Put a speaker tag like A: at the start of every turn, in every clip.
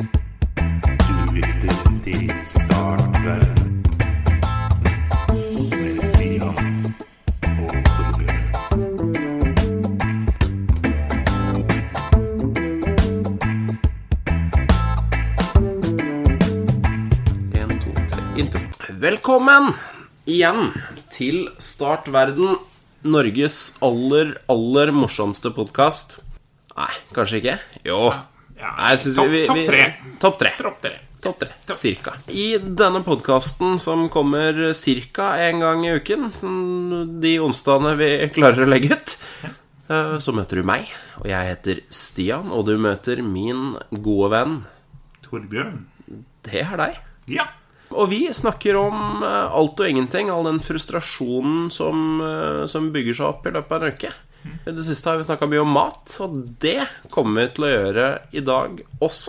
A: Du lytter til Startverden med Stian og Torbjørn.
B: En, to, tre, intro. Velkommen igjen til Start Verden, Norges aller, aller morsomste podkast. Nei, kanskje ikke? Jo.
C: Ja,
B: Nei, jeg synes
C: topp-
B: vi- vi-
C: topp
B: vi-
C: tre.
B: Topp tre.
C: Tropp dere.
B: Topp tre, cirka. I denne podkasten som kommer cirka en gang i uken, sånn de onsdagene vi klarer å legge ut, eh, så møter du meg, og jeg heter Stian, og du møter min gode venn.
C: Torbjørn.
B: Det er deg.
C: Ja.
B: Og vi snakker om eh, alt og ingenting, all den frustrasjonen som, eh, som bygger seg opp i løpet av en uke. I det siste har vi snakka mye om mat, og det kommer vi til å gjøre i dag også.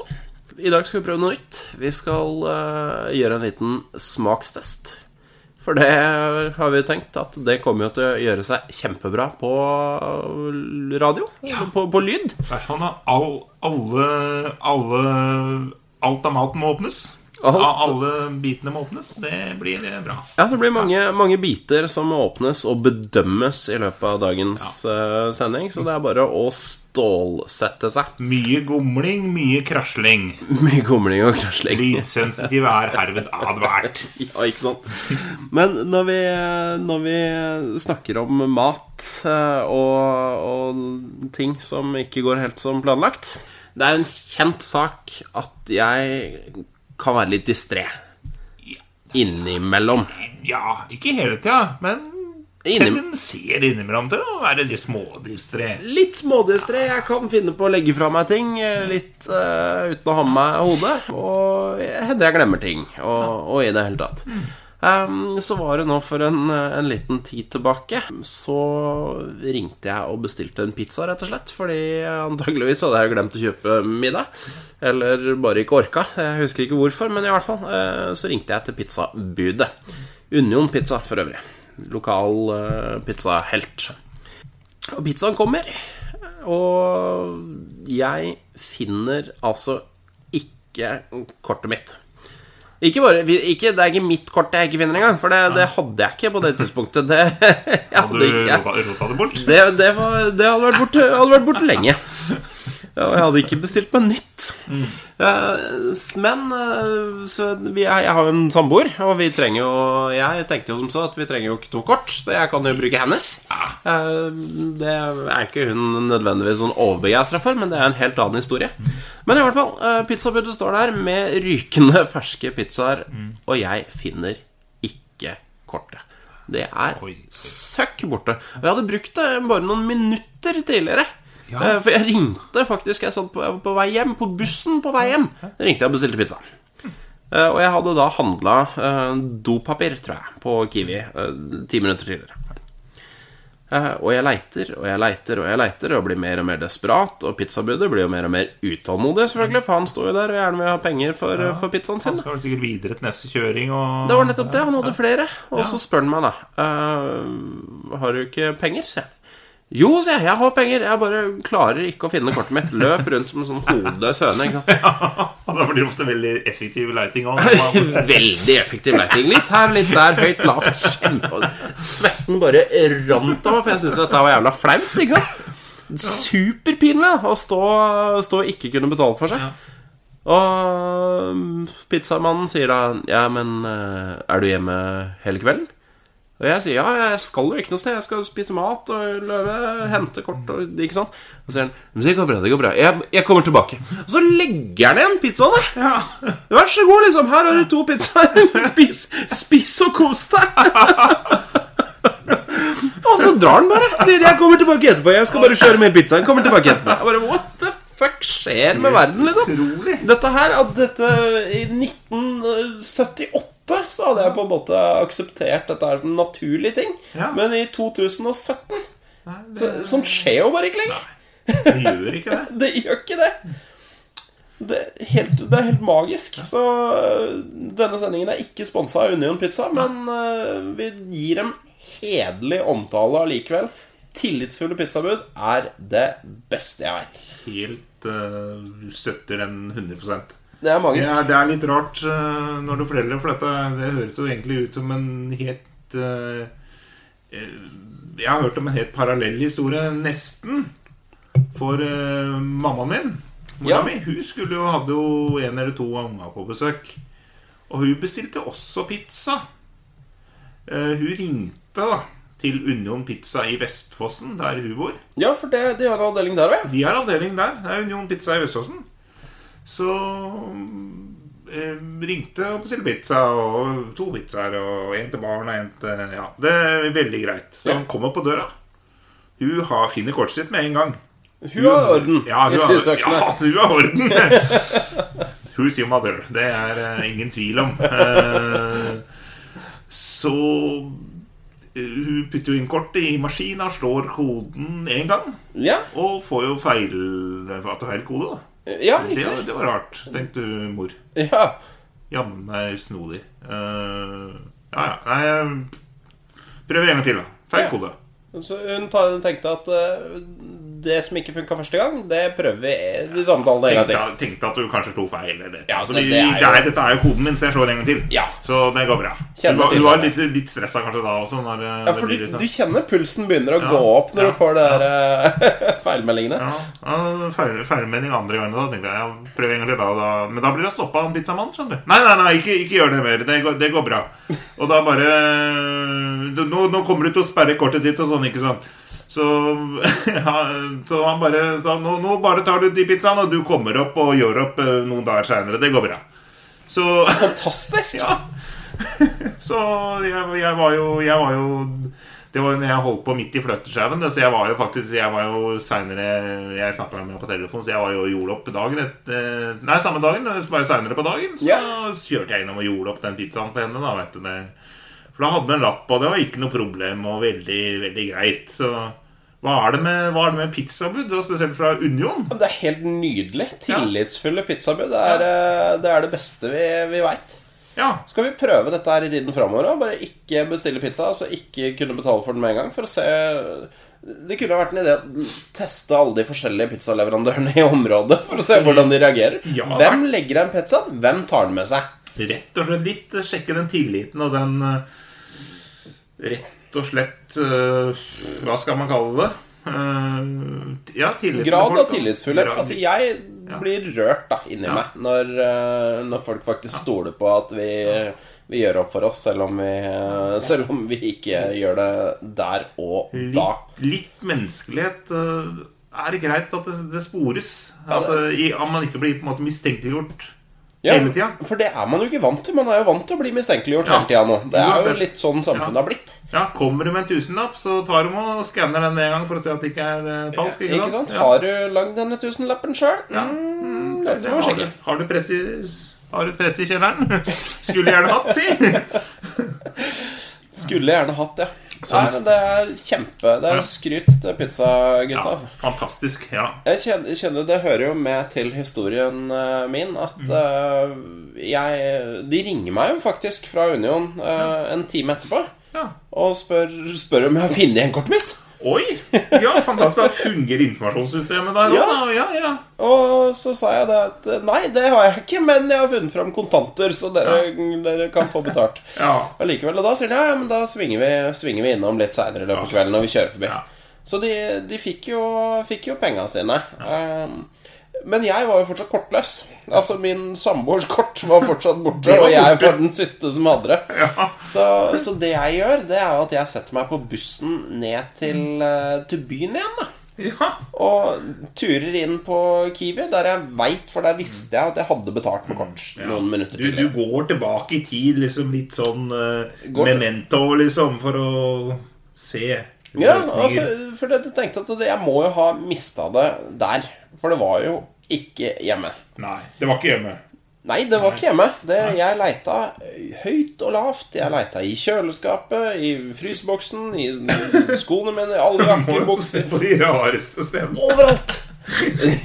B: I dag skal vi prøve noe nytt. Vi skal eh, gjøre en liten smakstest. For det har vi tenkt at det kommer jo til å gjøre seg kjempebra på radio. På, på lyd.
C: Det er sånn at all, alle, alle Alt av maten må åpnes.
B: Alt.
C: Av Alle bitene må åpnes. Det blir eh, bra.
B: Ja, det blir mange, mange biter som må åpnes og bedømmes i løpet av dagens eh, sending, så det er bare å stålsette seg.
C: Mye gomling, mye krasling.
B: Mye gomling og
C: Mm.
B: krasling.
C: Lydsensitiv er herved advart.
B: Ja, ikke sant? Men når vi, når vi snakker om mat eh, og, og ting som ikke går helt som planlagt Det er en kjent sak at jeg kan være litt distré innimellom.
C: Ja, ikke hele tida, men
B: Innim-
C: tendenserer innimellom til å være litt smådistré.
B: Litt smådistré. Jeg kan finne på å legge fra meg ting eh, litt eh, uten å ha med meg hodet. Og jeg- hender jeg glemmer ting, og, og i det hele tatt. Ehm, så var det nå for en, eh, en liten tid tilbake, så ringte jeg og bestilte en pizza, rett og slett. Fordi antageligvis hadde jeg glemt å kjøpe middag. Eller bare ikke orka. Jeg husker ikke hvorfor, men i hvert fall. eh, så ringte jeg til pizzabudet. Union Pizza, for øvrig. Lokal eh, pizzahelt. Og pizzaen kommer. Og jeg finner altså ikke kortet mitt. Ikke bare, ikke, det er ikke mitt kort jeg ikke finner engang, for det, det hadde jeg ikke på det tidspunktet. Det, jeg
C: Hadde
B: hadde
C: du
B: ikke
C: rota, rota det bort?
B: det, det, var, det hadde vært borte, hadde vært borte lenge. Ja, Og jeg hadde ikke bestilt meg nytt.
C: Mm.
B: Eh, s- Men eh, så vi, er- jeg har jo en samboer, og vi trenger jo Jeg tenkte jo som så at vi trenger jo ikke to kort, så jeg kan jo bruke hennes. Eh, Det er ikke hun nødvendigvis sånn overbegeistra for, men det er en helt annen historie. Men i hvert fall, eh, pizzabudet står der med rykende ferske pizzaer, og jeg finner ikke kortet. Det er
C: Oi, oi.
B: søkk borte. Og jeg hadde brukt det bare noen minutter tidligere.
C: Ja.
B: Eh, For jeg ringte faktisk jeg satt på, jeg var på vei hjem, på bussen på vei hjem. Ringte jeg og bestilte pizza. Eh, Og jeg hadde da handla dopapir, tror jeg, på Kiwi eh, ti minutter tidligere. Eh, Og jeg leiter og jeg leiter og jeg leiter og blir mer og mer desperat. Og pizzabudet blir jo mer og mer utålmodig, selvfølgelig, for han står jo der og gjerne vil ha penger for, for pizzaen
C: Han
B: sin.
C: skal vel sikkert videre til neste kjøring og
B: Det var nettopp det. Han hadde flere. Og så spør han meg, da. «Eh, har du ikke penger? sier jeg. Jo, sier jeg. Jeg har penger. Jeg bare klarer ikke å finne kortet mitt. Løp rundt som en sånn hodeløs høne. ikke sant?
C: Og Da blir det ofte veldig effektiv lighting òg.
B: Veldig effektiv leiting. Litt her, litt der, høyt, lavt. Kjempe... Svetten bare rant av meg, for jeg syntes dette var jævla flaut. ikke sant? Superpinlig da, å stå, stå og ikke kunne betale for seg. Og mm, pizzamannen sier da Ja, men eh, er du hjemme hele kvelden? Og jeg sier ja, jeg skal jo ikke noe sted. Jeg skal spise mat og løve, hente kort og ikke sant. Og så sier han men det går bra, det går bra. Jeg, jeg kommer tilbake. Og så legger han igjen pizzaen der. Vær så god, liksom. Her har du to pizzaer. Spis, spis og kos deg. og så drar han bare. Sier jeg kommer tilbake etterpå. Jeg skal bare kjøre med pizzaen. Kommer tilbake etterpå. Jeg bare, What the fuck skjer med verden, liksom?
C: Utrolig.
B: Dette her, at dette I 1978 så hadde jeg på en måte akseptert dette her som en naturlig ting.
C: Ja.
B: Men i 2017 så, Sånt skjer jo bare ikke lenger.
C: Det gjør ikke det.
B: Det gjør ikke det. Det er, helt, det er helt magisk. Så eh, øh, denne sendingen er ikke sponsa av Union Pizza, men øh, eh, vi gir dem hederlig omtale allikevel. Tillitsfulle pizzabud er det beste jeg veit.
C: Helt eh, støtter den 100
B: Det er mange
C: Det er, det er litt rart eh, når du er foreldre, for dette det høres jo egentlig ut som en helt eh, eh, Jeg har hørt om en helt parallell historie, nesten, for eh, mammaen min. Mora
B: Ja.
C: mi hun skulle jo, hadde jo en eller to unger på besøk. Og hun bestilte også pizza. Eh, hun ringte da til Union Pizza i Vestfossen, der hun bor.
B: Ja, for det, de har en avdeling der òg.
C: De har avdeling der. Det er Union Pizza i Østfossen. Så eh, ringte og bestilte pizza, og to pizzaer, og en til barn og en til Ja, det er veldig greit. Så
B: Ja.
C: han kommer på døra. Hun har finner kortet sitt med en gang.
B: Hun har orden
C: Ja,
B: i
C: hun har,
B: sysøkene.
C: ja, hun har orden! Who's your mother? Det er eh, ingen tvil om. Eh, så eh, hun putter jo inn kortet i maskina, slår koden én gang.
B: Ja.
C: Og får jo feil, at det er feil kode, da.
B: Ja,
C: Det,
B: riktig.
C: det var rart, tenkte mor.
B: Ja.
C: Jammen meg snodig. Eh, ja, ja. Nei, jeg prøver en gang til, da. Feil
B: Ja.
C: kode.
B: Så hun ta- tenkte at eh, det som ikke funka første gang, det prøver vi i samtalen en gang
C: Tenkte,
B: til.
C: tenkte at du kanskje slo feil. Eller. Altså,
B: Ja,
C: Fordi
B: det- det er jo-
C: det er- dette er jo koden min, så jeg slår en gang til.
B: Ja.
C: Så det går bra.
B: Kjenner
C: Du var,
B: til
C: du var
B: det.
C: litt, litt stressa kanskje da også? Når eh,
B: Ja,
C: det blir
B: for du,
C: litt sånn.
B: du kjenner pulsen begynner å
C: Ja,
B: gå opp når
C: ja,
B: du får de der eh, feilmeldingene.
C: Ja, ja, feil- feilmelding andre gangen. Da tenkte jeg, ja, prøv en gang til da, da. Men da blir jeg stoppa av en pizzamann. skjønner du Nei, nei, nei, ikke, ikke gjør det mer. Det går, det går bra. Og da bare du- nå, nå kommer du til å sperre kortet ditt og sånn, ikke sant? Så, ja, så han bare så nå, nå bare tar du de pizzaene, og du kommer opp og gjør opp eh, noen dager seinere. Det går bra. Så
B: Fantastisk!
C: ja. Så jeg, jeg var jo Jeg var jo det var jo når jeg holdt på midt i fløtesjauen. Så jeg var jo faktisk Jeg var jo senere Jeg snakka med meg på telefon, så jeg var jo og gjorde opp dagen etter Nei, samme dagen, bare seinere på dagen. Så
B: Ja.
C: kjørte jeg innom og gjorde opp den pizzaen på henne. da, vet du det For da hadde den en lapp, og det var ikke noe problem, og veldig, veldig greit. Så hva er det med, hva er det med pizzabud, og spesielt fra Union?
B: Det er helt nydelig. Tillitsfulle pizzabud. Det er eh, det, er det beste vi, vi veit.
C: Ja,
B: Skal vi prøve dette her i tiden framover? da? Bare ikke bestille pizza, altså ikke kunne betale for den med en gang, for å se Det kunne vært en idé å teste alle de forskjellige pizzaleverandørene i området for å se hvordan de reagerer.
C: Ja.
B: Hvem legger igjen pizzaen? Hvem tar den med seg?
C: Rett og slett litt eh, sjekke den tilliten og den eh, Rett og slett eh, Hva skal man kalle det? Eh, t- ja, tilliten til
B: Grad
C: folk,
B: av
C: da.
B: tillitsfullhet.
C: Grad-
B: Altså, jeg blir rørt da, inni
C: Ja.
B: meg når, eh, når folk faktisk stoler på at vi, vi gjør opp for oss, selv om vi, eh, selv om vi ikke gjør det der og da.
C: litt, litt menneskelighet eh, er det greit at det, det spores. At, eh, i, at man ikke blir på en måte mistenkeliggjort
B: Ja,
C: hele tida.
B: For det er man jo ikke vant til. Man er jo vant til å bli mistenkeliggjort
C: Ja.
B: hele tida nå. Det er jo
C: Uansett.
B: litt sånn samfunnet
C: Ja.
B: har blitt.
C: Ja, kommer du med en tusenlapp, så tar de og skanner den med en gang for å se at det ikke er eh, falsk. Ikke sant?
B: Ikke sant?
C: Ja.
B: Har du lagd denne tusenlappen sjøl?
C: Ja.
B: Mm,
C: Har
B: dette må vi
C: du,
B: sjekke.
C: har du press i har du press i kjelleren? Skulle gjerne hatt, si!
B: Skulle gjerne hatt det. Nei,
C: Sånn-
B: men det er kjempe Det er
C: Ja.
B: skryt til pizzagutta.
C: Ja,
B: altså.
C: fantastisk. Ja.
B: Jeg kjenner, kjenner Det hører jo med til historien eh, min at eh, jeg De ringer meg jo faktisk fra Union eh, en time etterpå
C: ja.
B: og spør, spør om jeg har funnet igjen kortet mitt.
C: Oi! Ja, fantastisk. Da Fungerer informasjonssystemet der òg,
B: Ja.
C: da? Ja, ja.
B: Og så sa jeg det at eh, Nei, det har jeg ikke, men jeg har funnet fram kontanter, så dere, dere kan få betalt.
C: Ja.
B: Allikevel. Og da sier de ja, ja, men da svinger vi, svinger vi innom litt seinere i løpet av
C: Ja.
B: kvelden når vi kjører forbi.
C: Ja.
B: Så de, de fikk jo, fikk jo penga sine. Um, men jeg var jo fortsatt kortløs. Altså Min samboers kort var fortsatt borte,
C: Det var
B: og jeg
C: borte.
B: var den siste som hadde det.
C: Ja.
B: Så, så det jeg gjør, det er jo at jeg setter meg på bussen ned til, eh, til byen igjen. da
C: ja.
B: og turer inn på Kiwi, der jeg veit, for der visste jeg at jeg hadde betalt med kort noen minutter
C: Du, du
B: tidligere.
C: går tilbake i tid, liksom litt sånn eh,
B: Går-
C: memento, liksom, for å se
B: Ja, altså,
C: løsninger.
B: for jeg tenkte at det- jeg må jo ha mista det der. For det var jo ikke hjemme.
C: Nei, det var ikke hjemme.
B: Nei, det var ikke hjemme. Det, jeg leita høyt og lavt. Jeg leita i kjøleskapet, i fryseboksen, i skoene mine, i alle
C: Må jo
B: jakkebokser
C: se på de rareste stedene.
B: Overalt! Jeg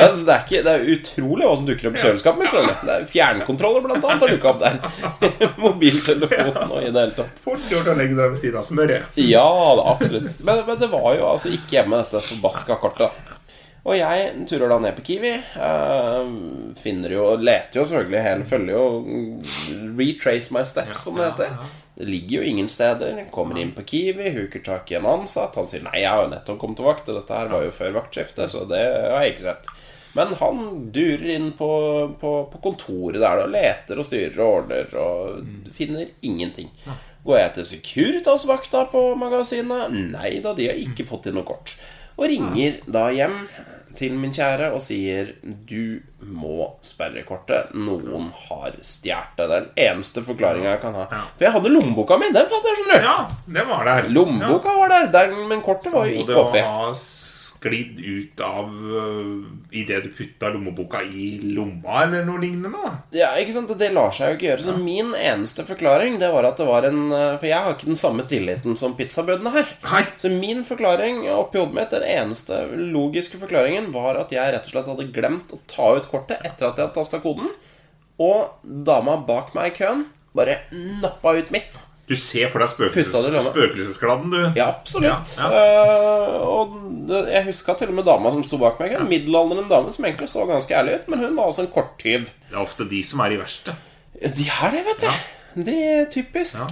B: altså, det, er ikke, det er utrolig hva som dukker opp i kjøleskapet mitt. skjønner du. Det er fjernkontroller, blant annet, har dukka opp der. Mobiltelefon og i det hele tatt.
D: Fort gjort å legge deg ved siden av smøret.
B: Ja da, absolutt. Men, men det var jo altså ikke hjemme, dette forbaska kortet. da. Og jeg turer da ned på Kiwi. eh, finner jo Leter jo selvfølgelig hele Følger jo mm, Retrace my steps, som det heter. Det ligger jo ingen steder. Kommer inn på Kiwi, huker tak i en ansatt. Han sier 'nei, jeg har jo nettopp kommet til vakt', og dette her var jo før vaktskiftet, så det har jeg ikke sett. Men han durer inn på, på, på kontoret der og leter og styrer og ordner og finner ingenting. Går jeg til Securitas-vakta på magasinet? Nei da, de har ikke fått inn noe kort. Og ringer da hjem til min kjære og sier du må sperre kortet. Noen har stjålet det. Det er den eneste forklaringa jeg kan ha. For jeg hadde lommeboka mi. Den fant jeg, skjønner du.
C: Ja, det var der.
B: Lommeboka var der, der, men kortet var jo
C: Og
B: ikke
C: Sånn det å
B: oppi.
C: ha sklidd ut av øh, i Idet du putta lommeboka i lomma, eller noe lignende. da
B: Ja, ikke sant? Og Det lar seg jo ikke gjøre. Så min eneste forklaring det var at det var en eh, For jeg har ikke den samme tilliten som pizzabødene her.
C: Nei.
B: Så min forklaring oppi hodet mitt, den eneste logiske forklaringen, var at jeg rett og slett hadde glemt å ta ut kortet etter at jeg hadde tasta koden. Og dama bak meg i køen bare nappa ut mitt.
C: Du ser for deg
B: Putta det i
C: spøkelses,
B: lomma.
C: spøkelsesgladden, du.
B: Ja, absolutt.
C: Ja,
B: Eh, og det, jeg huska til og med dama som sto bak meg. En middelaldrende dame som egentlig så ganske ærlig ut, men hun var også en korttyv.
C: Det er ofte de som er i verste.
B: De er det, vet du. De er typisk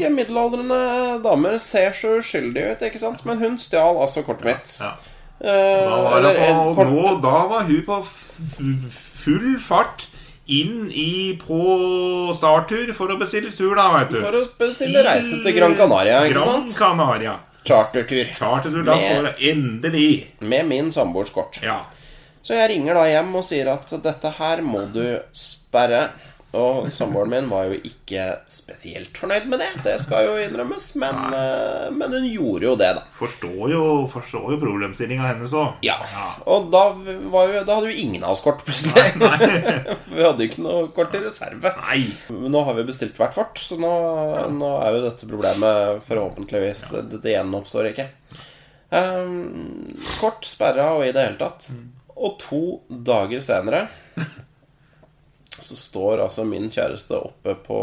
B: middelaldrende damer ser så uskyldige ut, ikke sant? Men hun stjal altså kortet mitt.
C: Ja.
B: Eh,
C: Da var,
B: eller
C: det,
B: en
C: og
B: kort-
C: nå, da var hun på f- full fart inn i på starttur for å bestille tur, da, veit du.
B: For å bestille reise til Gran Canaria, ikke
C: Gran
B: sant?
C: Canaria.
B: Chartertur.
C: Klart at du da
B: Med-
C: får det. endelig.
B: Med min samboers kort.
C: Ja.
B: Så jeg ringer da hjem og sier at dette her må du sperre. Og samboeren min var jo ikke spesielt fornøyd med det, det skal jo innrømmes, men, eh, men hun gjorde jo det, da.
C: Forstår jo, forstår jo problemstillinga hennes òg.
B: Ja. Og da, var jo, da hadde jo ingen av oss kort, plutselig. vi hadde jo ikke noe kort i reserve.
C: Nei.
B: Men Nå har vi bestilt hvert vårt, så nå, nå er jo dette problemet forhåpentligvis Dette gjenoppstår ikke. Ehm, kort sperra og i det hele tatt.
C: Mm.
B: Og to dager senere så står altså min kjæreste oppe på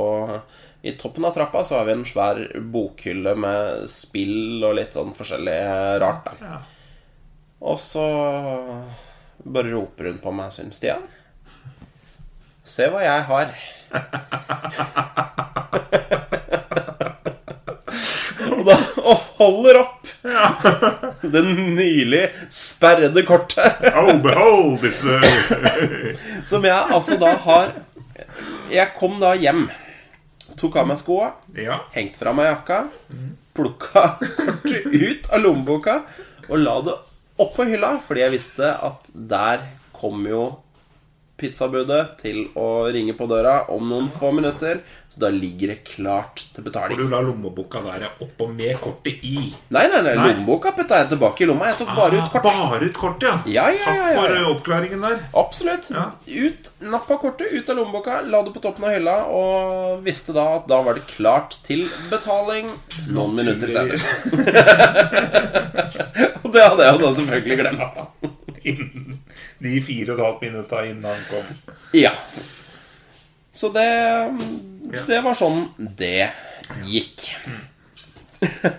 B: I toppen av trappa så har vi en svær bokhylle med spill og litt sånn forskjellig rart. Da.
C: Ja.
B: Og så bare roper hun på meg og sier Stian, se hva jeg har. og, da, og holder opp det nylig sperrede kortet
C: Oh, behold this uh,
B: som jeg altså da har Jeg kom da hjem, tok av meg skoa,
C: Ja.
B: hengt fra meg jakka, plukka kortet ut av lommeboka og la det oppå hylla, fordi jeg visste at der kom jo pizzabudet til å ringe på døra om noen få minutter, så da ligger det klart til
C: Du
B: betaling.
C: la lommeboka være oppå med kortet i.
B: Nei, nei, nei, lommeboka putta jeg tilbake i lomma. Jeg tok bare
C: Ah,
B: ut kortet.
C: Bare ut kortet, ja.
B: Ja, ja, ja,
C: Takk
B: ja,
C: for
B: ja.
C: uh, oppklaringen der.
B: Absolutt.
C: Ja.
B: Ut, Nappa kortet ut av lommeboka, la det på toppen av hylla og visste da at da var det klart til betaling noen minutter senere. Og det hadde jeg jo da selvfølgelig glemt.
C: Innen de fire og et halvt minutta innen han kom.
B: Ja. Så det Det var sånn det gikk.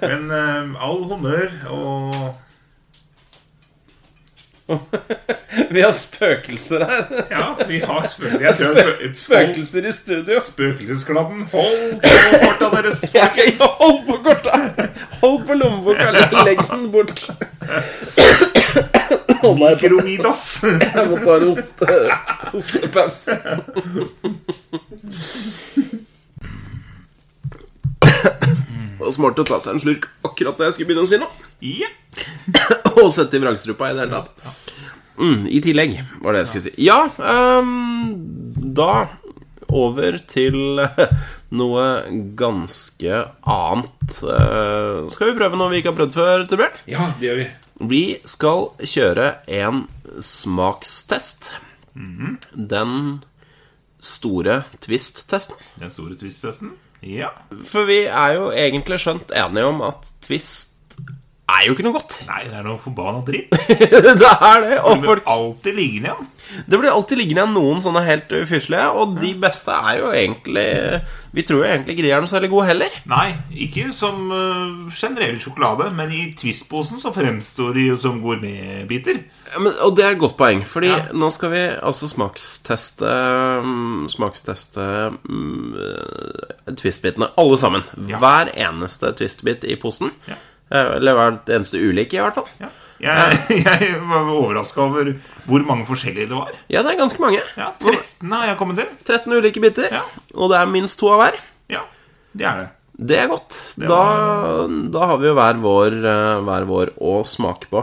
C: Men eh, all honnør og
B: Vi har spøkelser her.
C: Ja, vi har spø- jeg tror
B: Spø
C: jeg-
B: spøkelser i studio.
C: Spøkelsesgladden. Hold på korta deres, folkens!
B: Hold på kortet! Hold på lommeboka, eller legg den bort. Å nei,
C: Mikromidas.
B: jeg må ta en eh, hoste, hostepause. Det var smart å ta seg en slurk akkurat da jeg skulle begynne å si noe.
C: Ja.
B: og sette i vrangstrupa i det hele tatt. Mm, I tillegg, var det jeg skulle si. Ja, ehm, da over til eh, noe ganske annet. Eh, skal vi prøve noe vi ikke har prøvd før, Torbjørn?
C: ja, det gjør vi.
B: Vi skal kjøre en smakstest. Den store twist-testen.
C: Den store twist-testen. Ja.
B: For vi er jo egentlig skjønt enige om at twist er jo ikke noe godt.
C: Nei, det er noe forbanna dritt.
B: det er det. Og
C: Det
B: folk,
C: blir alltid liggende igjen.
B: det blir alltid liggende igjen noen sånne helt uh, fysselige, og de beste er jo egentlig Vi tror jo egentlig ikke de er noe særlig gode heller.
C: Nei, ikke som øh, generell sjokolade, men i Twist-posen så fremstår de jo som gourmetbiter.
B: Ja, Men, og det er et godt poeng, fordi
C: Ja.
B: nå skal vi altså smaksteste mm, Smaksteste mm, eh, twistbitene, alle sammen.
C: Ja.
B: Hver eneste twistbit i posen.
C: Ja.
B: Eh, Eller hver eneste ulike, i hvert fall.
C: Ja. Jeg, jeg var overraska over hvor mange forskjellige det var.
B: Ja, det er ganske mange.
C: Ja, 13 har jeg kommet til.
B: 13 ulike biter,
C: Ja.
B: og det er minst to av hver.
C: Ja, det er det.
B: Det er godt. Da, da har vi jo hver vår, eh, hver vår å smake på.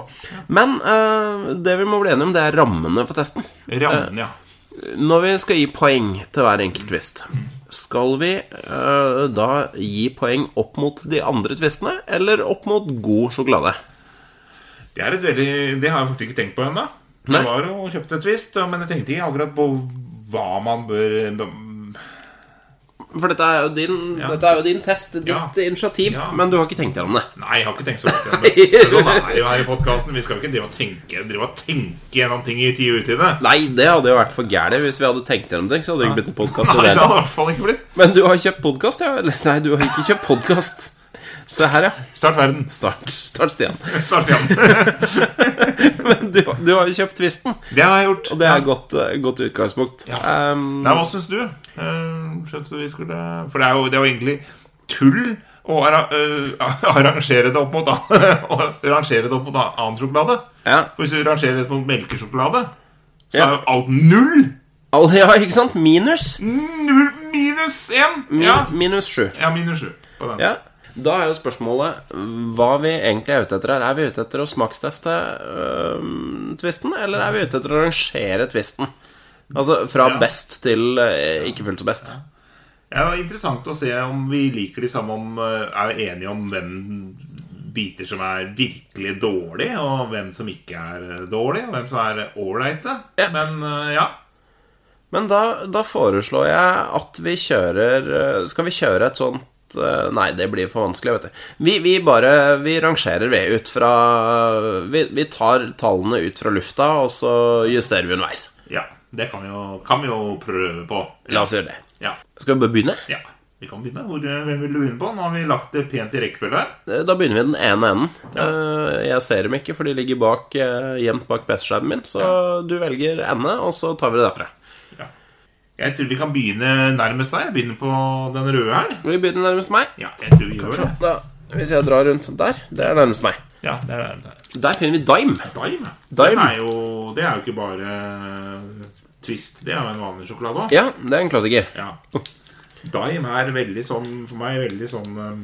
B: Men eh, det vi må bli enige om, det er rammene for testen.
C: Rammen, ja.
B: Når vi skal gi poeng til hver enkelt twist, skal vi eh, da gi poeng opp mot de andre twistene, eller opp mot god sjokolade?
C: Det er et veldig Det har jeg faktisk ikke tenkt på ennå.
B: Nei.
C: Jeg var og kjøpte et Twist, men jeg tenkte ikke akkurat på hva man bør
B: For dette er jo din, dette er jo din test, ditt
C: Ja.
B: initiativ,
C: Ja.
B: men du har ikke tenkt deg om det.
C: Nei, jeg har ikke tenkt så langt. igjen, Men sånn er det jo her i podkasten. Vi skal jo ikke drive og tenke Drive og tenke gjennom ting i tide og utide.
B: Nei, det hadde jo vært for gærent. Hvis vi hadde tenkt gjennom ting, så hadde det ikke blitt en podkast.
C: Nei, det hadde i hvert fall ikke blitt.
B: Men du har kjøpt podkast, ja? Eller nei, du har ikke kjøpt podkast. Se her, ja.
C: Start verden.
B: Start, start Stian.
C: Start igjen.
B: Men du, du har jo kjøpt Twisten,
C: Det har jeg gjort.
B: og det er et godt, eh, godt utgangspunkt.
C: Ja.
B: Um,
C: Nei, hva syns du? Eh, skjønte vi skulle For det er jo, det er jo egentlig tull å ara eh, arrangere det opp mot an- å rangere det opp mot an- annen sjokolade.
B: Ja.
C: For hvis du rangerer det mot melkesjokolade, så
B: Ja.
C: er jo alt null!
B: Al- Ja, ikke sant? Minus
C: Null minus én!
B: min,
C: Ja.
B: Minus sju
C: ja, minus sju på den.
B: ja. Da er jo spørsmålet Hva vi egentlig er ute etter her Er vi ute etter å smaksteste øhm, Twisten, eller er vi ute etter å rangere Twisten? Altså fra
C: Ja.
B: best til eh, ikke fullt så best
C: Ja, det er interessant å se om vi liker de samme om, eh, Er enige om hvem biter som er virkelig dårlig Og hvem som ikke er eh, dårlig Og hvem som er ålreit.
B: Ja.
C: Men eh, ja
B: Men da, da foreslår jeg at vi kjører eh, Skal vi kjøre et sånt eh, Nei, det blir for vanskelig, vet du. Vi, vi bare Vi rangerer ved ut fra vi, vi tar tallene ut fra lufta, og så justerer vi underveis.
C: Ja, det kan vi jo, kan vi jo prøve på.
B: La oss gjøre det.
C: Ja,
B: Skal vi bare begynne?
C: ja. Vi kan begynne. Hvor, eh, hvem vil du begynne på? Nå har vi lagt det pent i rekkefølge her.
B: Eh, Da begynner vi den ene enden. Eh, Jeg ser dem ikke, for de ligger bak, eh, gjemt bak bestskjermen min. Så du velger ende, og så tar vi det derfra.
C: Jeg tror vi kan begynne nærmest deg. Begynne på den røde her.
B: Vi begynner nærmest meg.
C: Ja, jeg tror vi gjør det.
B: Da, hvis jeg drar rundt der Det er nærmest meg.
C: Ja, det er det.
B: Der finner vi Dime.
C: Dime.
B: Dime.
C: Den er jo, det er jo ikke bare eh, Twist. Det er jo en vanlig sjokolade òg.
B: Ja, det er en klassiker.
C: Ja. Dime er veldig sånn For meg veldig sånn um,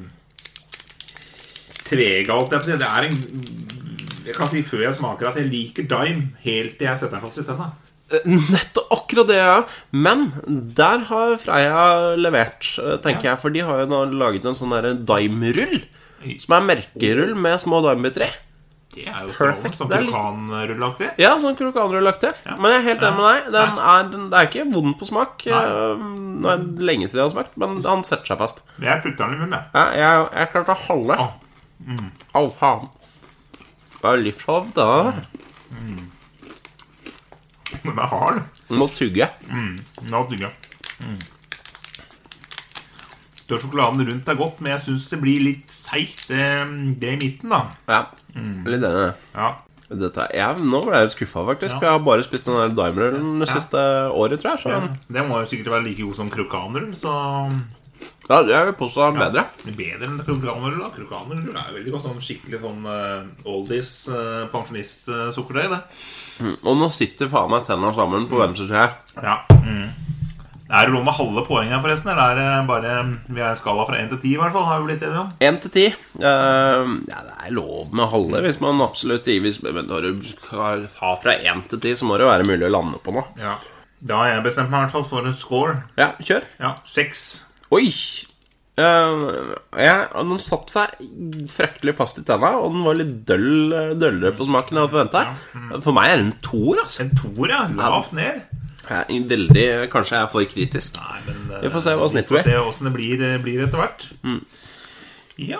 C: tregalt. jeg får si. Det er en Jeg kan si før jeg smaker at jeg liker Dime helt til jeg setter den fast i tenna.
B: Eh, Nettopp akkurat det, ja. Men der har Freia levert, eh, tenker jeg. For de har jo nå laget en sånn derre Dime-rull. Som er merkerull med små dimebiter i.
C: Det er jo strålende.
B: Perfect.
C: Sånn
B: Det er litt-
C: vulkanrullaktig.
B: Ja, sånn krokanrullaktig.
C: Ja.
B: Men jeg er helt enig med deg. Den er, den, det er ikke vond på smak.
C: Nei.
B: Eh, Det er lenge siden jeg har smakt, men han setter seg fast.
C: Men Jeg putter den i munnen, jeg.
B: Jeg, jeg, jeg klarte halve. Å,
C: Ah.
B: faen. Det er livsfarlig, det der.
C: Den er hard.
B: Du må tygge.
C: La oss tygge. Mm. Tørr sjokoladen rundt er godt, men jeg syns det blir litt seigt, det, det i midten, da.
B: Ja.
C: Mm.
B: Litt enig. i det.
C: Ja.
B: Dette, er- jeg, nå ble jeg skuffa, faktisk. For jeg har bare spist den der Dimerullen det siste året, tror jeg. Så
C: Men Det må jo sikkert være like god som krokanrull, så
B: ja, jeg vil påstå den er bedre.
C: det er bedre enn krokanrull. da Krokanrull er jo veldig godt sånn skikkelig sånn eh, oldies, uh, pensjonistsukkertøy, det.
B: Og nå sitter faen meg tenna
C: Mm.
B: sammen på venstresida her.
C: Ja. Mm. Er det lov med halve poeng her, forresten? Eller er det bare Vi er i skala fra 1 til 10, i hvert fall? Har vi blitt enige om?
B: Én til ti. Eh, ja, det er lov med halve hvis man absolutt hvis, Men når du skal ha fra én til ti, så må det jo være mulig å lande på noe.
C: Ja. Da har jeg bestemt meg i hvert fall for en score.
B: Ja, kjør.
C: Ja, seks.
B: Oi! Eh, jeg, og den satt seg fryktelig fast i tenna, og den var litt døll, døllere på smaken enn jeg hadde forventa. For meg er den en toer, altså.
C: En toer, ja. Lavt ned.
B: Jeg er veldig, kanskje jeg er for kritisk.
C: Nei, men eh,
B: Vi får se hva snittet
C: Vi får
B: blir.
C: se åssen det blir, blir etter hvert. Ja.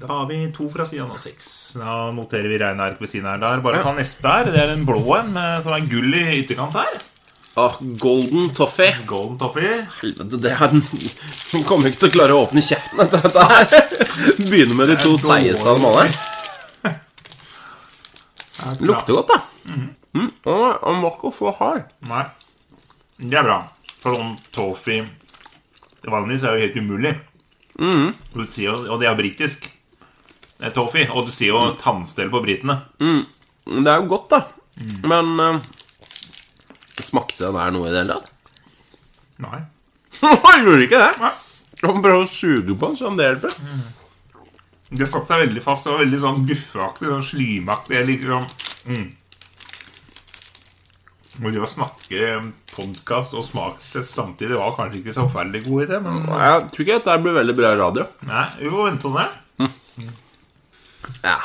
C: Da har vi to fra siden og seks. Da noterer vi regneark ved siden her. Der. Bare ta neste her. Det er den blå en med, som er gull i ytterkant her.
B: Åh, golden toffee.
C: Golden toffee.
B: Helvete, det her Hun kommer ikke til å klare å åpne kjeften etter dette her. Begynner med de to seigeste av dem alle. Lukter godt, da. Mm, den var- den var ikke så hard.
C: Nei. Det er bra. For sånn toffee vanligvis er jo helt umulig. Og, du sier, jo- og det er britisk. Det er toffee. Og du sier jo tannstell på britene.
B: Det er jo godt, da. Men eh, smakte den her noe i det hele tatt?
C: Nei.
B: Nei, Gjorde ikke det.
C: Nei.
B: Kan prøve å suge på den, så om det hjelper.
C: Det satte seg veldig fast. Det var veldig sånn guffeaktig og slimaktig. Jeg liker sånn mm. Og det å snakke podkast og smakstest samtidig var kanskje ikke så forferdelig god idé, men
B: Nei, Jeg tror ikke dette her blir veldig bra radio.
C: Nei, vi får vente om det.
B: Ja,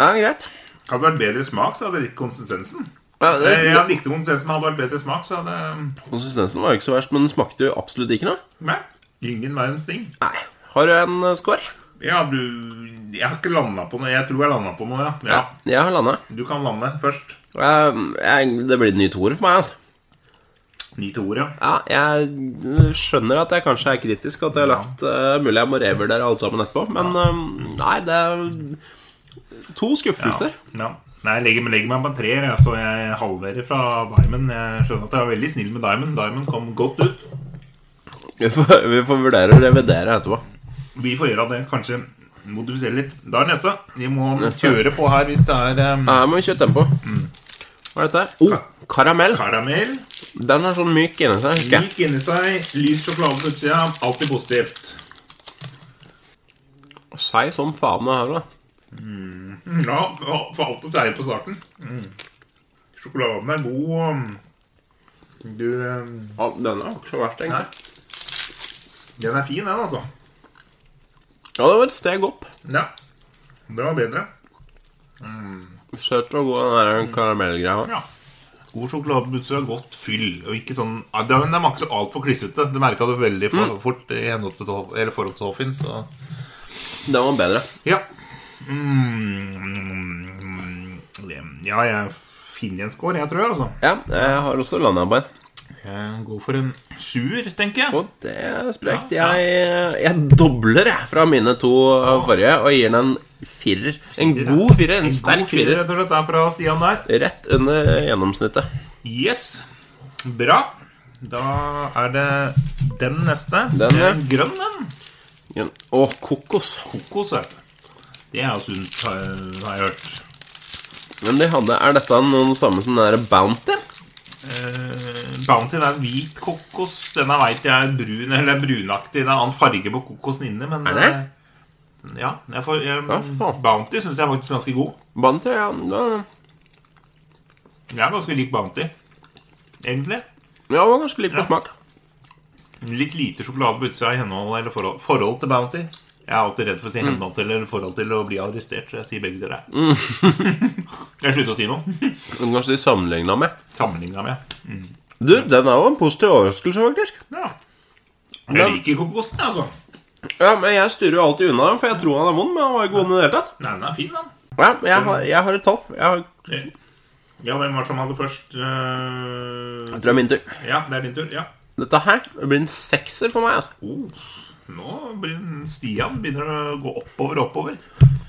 B: ja greit.
C: Hadde det vært bedre smak, så hadde jeg likt konsistensen.
B: Ja, det,
C: Jeg jeg likte konsistensen, men hadde det vært bedre smak, så hadde mm,
B: Konsistensen var jo ikke så verst, men den smakte jo absolutt ikke noe.
C: Nei. Ingen verdens ting.
B: Nei. Har du en eh, score?
C: Ja, du Jeg har ikke landa på noe. Jeg tror jeg landa på noe, ja. ja.
B: Jeg har landa.
C: Du kan lande først.
B: Det blir en ny toer for meg, altså.
C: Ni til ordet.
B: Ja, jeg skjønner at jeg kanskje er kritisk, at jeg har lagt eh, Mulig jeg må revurdere alt sammen etterpå, men eh, nei, det er to skuffelser.
C: Ja. Nei, jeg legger, legger meg på en treer, jeg, så jeg halverer fra Diamond. Jeg skjønner at jeg var veldig snill med Diamond. Diamond kom godt ut.
B: Vi, får, vi får vurdere å revidere etterpå.
C: Vi får gjøre det, kanskje modifisere litt. Da er neste. Vi må
B: Neste.
C: kjøre på her hvis det er eh,
B: Her må vi kjøre tempo. Hva er dette? her? Oh, karamell.
C: karamell.
B: Den er sånn myk inni seg. husker jeg.
C: Myk inni seg, lys sjokolade på utsida. Alltid positivt.
B: Seig som faen det her, da.
C: Mm. Ja, og for alt å seie på starten. Mm. Sjokoladen er god. og Du eh,
B: Ja, den er ikke så verst,
C: Nei.
B: egentlig.
C: Den er fin, den, altså.
B: Ja, det var et steg opp.
C: Ja. Det var bedre.
B: Søt og god, den der karamellgreia.
C: Ja. God sjokoladebutse har godt fyll, og ikke sånn ja, Det er det er ikke så altfor klissete. Du merka det veldig for,
B: Mm.
C: fort i henhold til Toff- eller forhold til Toffin, så
B: Den var bedre.
C: Ja. Mm, det- ja, jeg finner en score, jeg tror jeg, altså.
B: Ja, jeg har også landa på en.
C: Jeg går for en sjuer, tenker jeg.
B: Og det er sprekt.
C: Ja,
B: Jeg, jeg dobler jeg fra mine to eh, forrige og gir den en firer. En god firer. En sterk
C: god firer,
B: firer.
C: rett og slett, der fra Stian der.
B: Rett under gjennomsnittet.
C: Yes. Bra. Da er det den neste.
B: Den, ja.
C: Eh, Grønn, den.
B: Grønn. Å, kokos.
C: Kokos, vet du. Det er jo sunt, har jeg- har jeg hørt.
B: Men de hadde, er dette noen samme som den der Bounty?
C: Eh, Bounty det er hvit kokos. Denne veit jeg er brun eller brunaktig. Det er annen farge på kokosen inne, men
B: Er det?
C: eh, Ja. Jeg får, jeg,
B: Ja, faen.
C: Bounty syns jeg er faktisk ganske god.
B: Bounty, ja. den-
C: Jeg er ganske lik Bounty, egentlig.
B: Ja, det var ganske likt på
C: Ja.
B: smak.
C: Litt lite sjokolade på utsida i henhold eller forhold, forhold til Bounty. Jeg er alltid redd for å si
B: Mm.
C: henhold til eller forhold til å bli arrestert, så jeg sier begge deler.
B: Mm.
C: jeg slutter å si noe.
B: Men Kanskje de sammenligna med.
C: Sammenligna med.
B: Du, den er jo en positiv overraskelse, faktisk.
C: Ja.
B: Da-
C: Jeg liker kokosen, jeg, altså.
B: Ja, men Jeg styrer jo alltid unna den, for jeg tror han er vond, men han var ikke vond i det hele tatt.
C: Nei, den er fin, den.
B: Ja, men jeg har, jeg har et tall. Jeg, har,
C: Ja, hvem var det som hadde først? eh,
B: jeg tror det er min tur.
C: ja, det er din tur. ja
B: Dette her blir en sekser for meg. altså.
C: oh, Nå blir den- Stian begynner å gå oppover og oppover.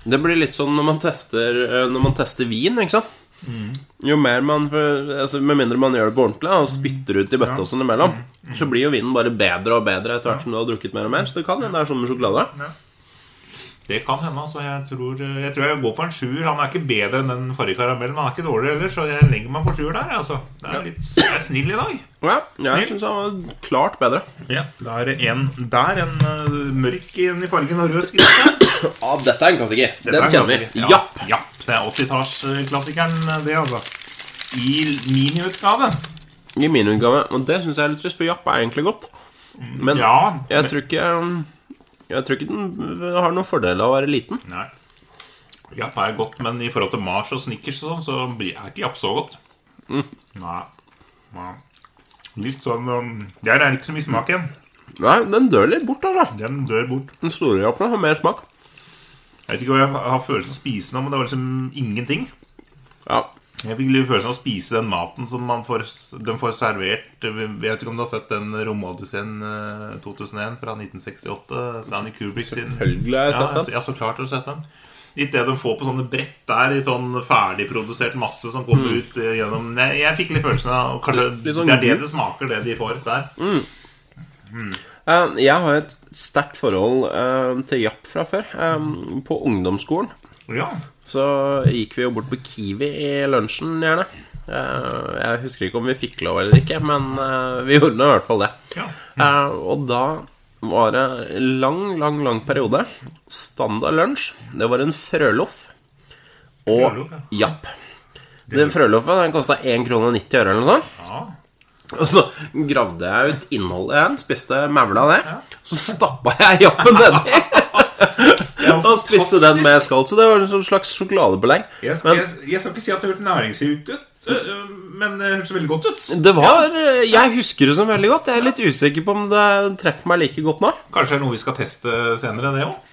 B: Det blir litt sånn når man tester, eh, når man tester vin, ikke sant?
C: Mm.
B: Jo mer man, altså Med mindre man gjør det på ordentlig og
C: Mm.
B: spytter ut i bøtta og sånn imellom, så blir jo vinen bare bedre og bedre etter hvert som du har drukket mer og mer. Så det kan hende det er sånn med sjokolade.
C: Det kan hende. altså Jeg tror jeg, tror jeg går for en sjuer. Han er ikke bedre enn den forrige karamellen. men Han er ikke dårlig heller, så jeg legger meg på sjuer der. altså Det er litt jeg er snill i dag.
B: Ja, jeg syns han var klart bedre.
C: Ja, Da er det en der, en eh, mørk en i fargen og rød skrift.
B: Ja, dette er en klassiker.
C: Dette er
B: Den kjenner
C: klassiker.
B: vi.
C: Ja,
B: Ja.
C: ja, det er 80-tallsklassikeren, det, altså. I miniutgave.
B: I min utgave. Og det syns jeg er litt trist, for Japp er egentlig godt. Men
C: Mm, Ja,
B: jeg tror ikke um, Jeg tror ikke den har noen fordel av å være liten.
C: Nei. Japp er godt, men i forhold til Mars og Snickers og sånn, så blir- er ikke Japp så godt. Nei. Nei. Litt sånn um, Der er det ikke så mye smak igjen.
B: Nei, den dør litt bort, altså.
C: Den dør bort.
B: Den store Jappen har mer smak.
C: Jeg vet ikke hva jeg har følelsen av å spise nå, men det var liksom ingenting.
B: Ja.
C: Jeg fikk litt følelsen av å spise den maten som man får, den får servert Jeg vet ikke om du har sett den Romodysseen eh, 2001 fra 1968? Stanley Kubrick sin
B: Selvfølgelig har jeg sett den.
C: Ja, ja, så klart har du sett den. Litt det de får på sånne brett der, i sånn ferdigprodusert masse som kommer ut eh, gjennom Nei, Jeg fikk litt følelsen av og Kanskje
B: Mm. Litt sånn
C: det er det
B: gul. Mm.
C: det smaker, det de får der.
B: Eh, Jeg har et sterkt forhold eh, til Japp fra før. Eh, På ungdomsskolen
C: Ja.
B: så gikk vi jo bort på Kiwi i lunsjen, gjerne. Eh, Jeg husker ikke om vi fikk lov eller ikke, men eh, vi gjorde nå i hvert fall det.
C: ja.
B: Eh, og da var det lang, lang, lang periode. Standard lunsj. Det var en frøloff og
C: Frøloff, ja.
B: japp. Den frøloffen den kosta 1,90 kr eller noe sånt.
C: ja.
B: Og så gravde jeg ut innholdet igjen, spiste maula av det. Så stappa jeg jappen nedi. Og spiste den med skall. Så det var en sånn slags sjokoladebelegg.
C: Jeg skal,
B: Men
C: jeg, jeg skal ikke si at det hørtes næringsrikt ut, øh, øh, men det hørtes veldig godt ut.
B: det var eh, Jeg husker det som veldig godt. Jeg er litt usikker på om det treffer meg like godt nå.
C: Kanskje det er noe vi skal teste senere, det òg?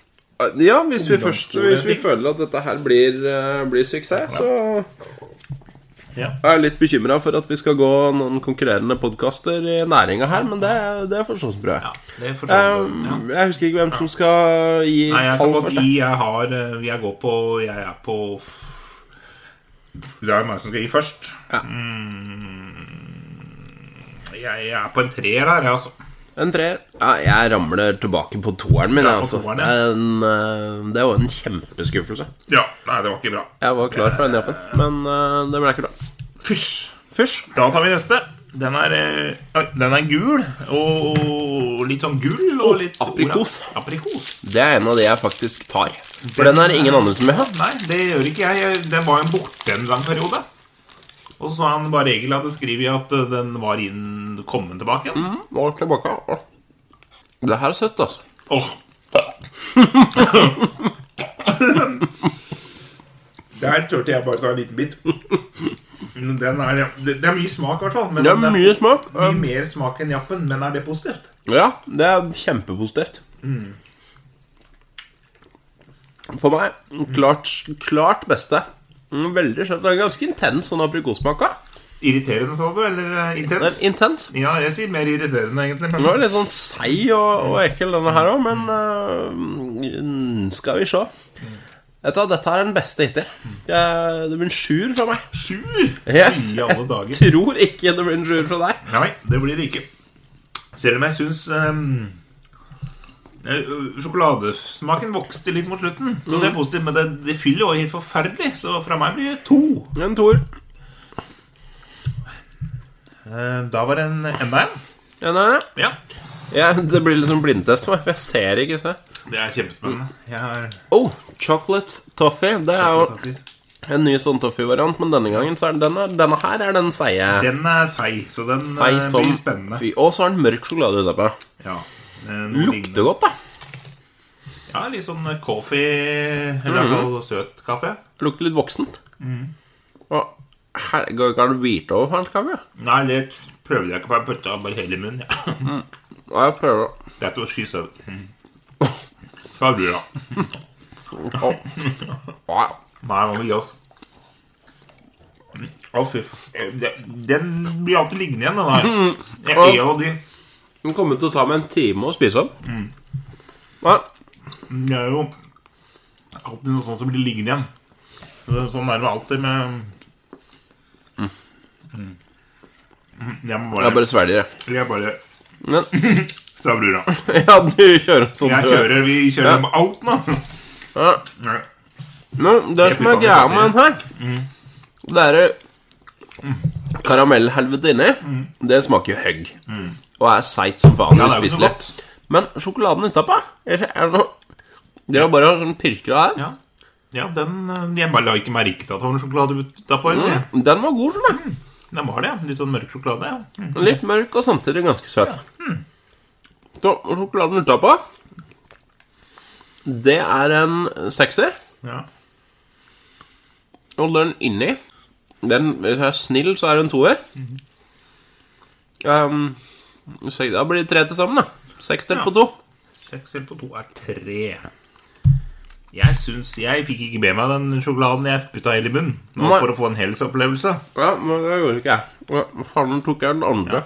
B: Ja, hvis vi først Hvis vi føler at dette her blir, eh, blir suksess, så
C: Ja.
B: er jeg litt bekymra for at vi skal gå noen konkurrerende podkaster i næringa her, men det, det er forstås bra.
C: Ja, det forstår jeg. Ja.
B: Um, jeg husker ikke hvem som skal gi
C: Nei, jeg,
B: tall
C: kan godt
B: først. jeg.
C: gi, jeg har øh, Jeg går på Jeg er på Det er meg som skal gi først.
B: Ja.
C: Mm, jeg, jeg er på en treer her, jeg, altså.
B: En treer. Ja, jeg ramler tilbake på toeren min. jeg,
C: på
B: altså.
C: toeren,
B: en, eh, det var en kjempeskuffelse.
C: Ja. Nei, det var ikke bra.
B: Jeg var klar for den jappen, men eh, det ble ikke bra.
C: Fysj.
B: Fysj.
C: Da tar vi neste. Den er, eh, oi, den er gul, og, og litt sånn gull og litt
B: aprikos.
C: aprikos.
B: Det er en av de jeg faktisk tar. For den er det ingen andre som vil ha.
C: Nei, det gjør ikke jeg. jeg. Den var jo borte en lang periode. Og så har han bare regel hadde skrevet at eh, den var inn, kommet tilbake igjen.
B: Og tilbake. Åh. Det her er søtt, altså.
C: Åh,
D: Der turte jeg bare ta en liten bit.
C: men den er, det, det er mye smak, i hvert fall. men
B: Det er
C: den er
B: mye smak.
C: mye mer smak enn jappen, men er det positivt?
B: Ja, det er kjempepositivt.
C: Mm.
B: For meg klart, klart beste. Mm, Veldig søtt. Det er ganske intens sånn aprikossmak. da.
C: Irriterende, sa du? Eller eh,
B: Den
C: intens?
B: er Intens.
C: Ja, jeg sier mer irriterende, egentlig.
B: Den var
C: Men,
B: litt sånn seig og, og ekkel, denne her òg, men øh, mm, skal vi se. Dette, dette er den beste hittil. Jeg- Det blir en sjuer fra meg.
C: sur!
B: Yes.
C: I alle dager.
B: Jeg tror ikke det blir en sjuer fra deg.
C: Nei, det blir det ikke. Selv om jeg syns ehm, eh, Sjokoladesmaken vokste litt mot slutten. Så
B: Mm.
C: det er positivt, Men det, det fyller jo helt forferdelig, så fra meg blir det to.
B: En toer.
C: Eh, Da var det en enda en.
B: Ja, nei, nei.
C: Ja.
B: Ja, det blir liksom blindtest for meg, for jeg ser ikke. Se.
C: Det er kjempespennende. Mm. Jeg har
B: Oh, chocolate toffee. Det er jo en ny sånn toffee-variant, men denne gangen så er den, denne, denne her er den seige.
C: Den er seig, så den eh,
B: Seig som
C: blir spennende.
B: fy. Og så er den mørk sjokolade utapå.
C: Ja. eh, noe lignende.
B: Lukter godt, da.
C: Ja, litt sånn coffee Eller i hvert
B: Mm-hmm.
C: fall søt kaffe.
B: Lukter litt voksent.
C: Mm.
B: Og her går ikke an å bite over fælt kaffe.
C: Nei, det prøvde jeg ikke på. Jeg putta bare hele i munnen. Ja.
B: Ja, jeg prøver å
C: Det er til å skyse over. Mm. Så er du, da.
B: Å. Å, ja.
C: Nei, nå vil gi oss. Å, fy f... eh, Den- Den blir alltid liggende igjen, den her. Jeg er jo de
B: Den kommer til å ta meg en time å spise opp.
C: Mm.
B: Ja,
C: Det er jo alltid noe sånt som blir liggende igjen. Så- Sånn er det jo alltid med Mm. Jeg må
B: jeg
C: bare
B: bare svelger, jeg.
C: Jeg bare
B: Men
C: Så er brura.
B: ja, du kjører sånn.
C: Jeg
B: du.
C: kjører, vi
B: Ja.
C: kjører med alt nå.
B: Ja.
C: Nei.
B: Men det
C: Jeg
B: som er
C: putter
B: greia
C: den i
B: med den her
C: Mm.
B: Det er eh, karamellhelvete inni. Det smaker jo høgg. Og er seigt som faen.
C: Mm. Ja, det er jo
B: uspiselig.
C: så godt.
B: Men sjokoladen utapå er det noe Dere bare har sånn pirker av her.
C: Ja. ja, den eh, Jeg bare la ikke merke til at det var noe sjokolade utapå. Mm.
B: Den var god, sånn. jeg.
C: Den var det, ja. Litt sånn mørk sjokolade. ja. Mm.
B: Litt mørk og samtidig ganske søt.
C: hmm.
B: Så og sjokoladen utapå Det er en sekser.
C: Ja.
B: Og den inni den, Hvis jeg er snill, så er det en toer.
C: Mhm.
B: Um, så da blir det tre til sammen, da. Seks delt
C: Ja.
B: på to.
C: Seks eller på to er tre. Jeg syns Jeg fikk ikke med meg den sjokoladen jeg putta hele i munnen. Nå
B: Nei.
C: for å få en helhetsopplevelse.
B: Ja, men det gjorde ikke jeg. Ja, Faen, nå tok jeg den andre.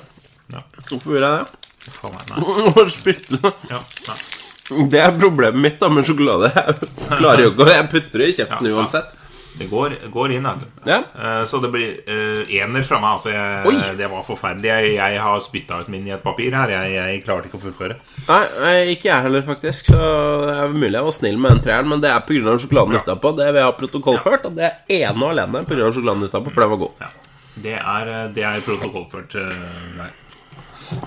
C: Ja.
B: Hvorfor gjorde jeg det?
C: Faen meg, nei.
B: Og spytte den.
C: Ja, nei.
B: Det er problemet mitt da med sjokolade. Jeg klarer jo ikke å Jeg putter det i kjeften
C: Ja, ja.
B: uansett.
C: Det går, går inn, vet du.
B: Ja.
C: Eh, Så det blir eh, ener fra meg. Altså, jeg,
B: Oi!
C: det var forferdelig. Jeg, jeg har spytta ut min i et papir her. Jeg, jeg klarte ikke å fullføre.
B: Nei, eh, ikke jeg heller, faktisk. Så det er mulig jeg var snill med den treeren, men det er pga. sjokoladen utapå. Det vil jeg ha protokollført, og det er ene og alene pga. sjokoladen utapå, for den var god.
C: Ja. Det er, eh, det er protokollført. eh, Nei.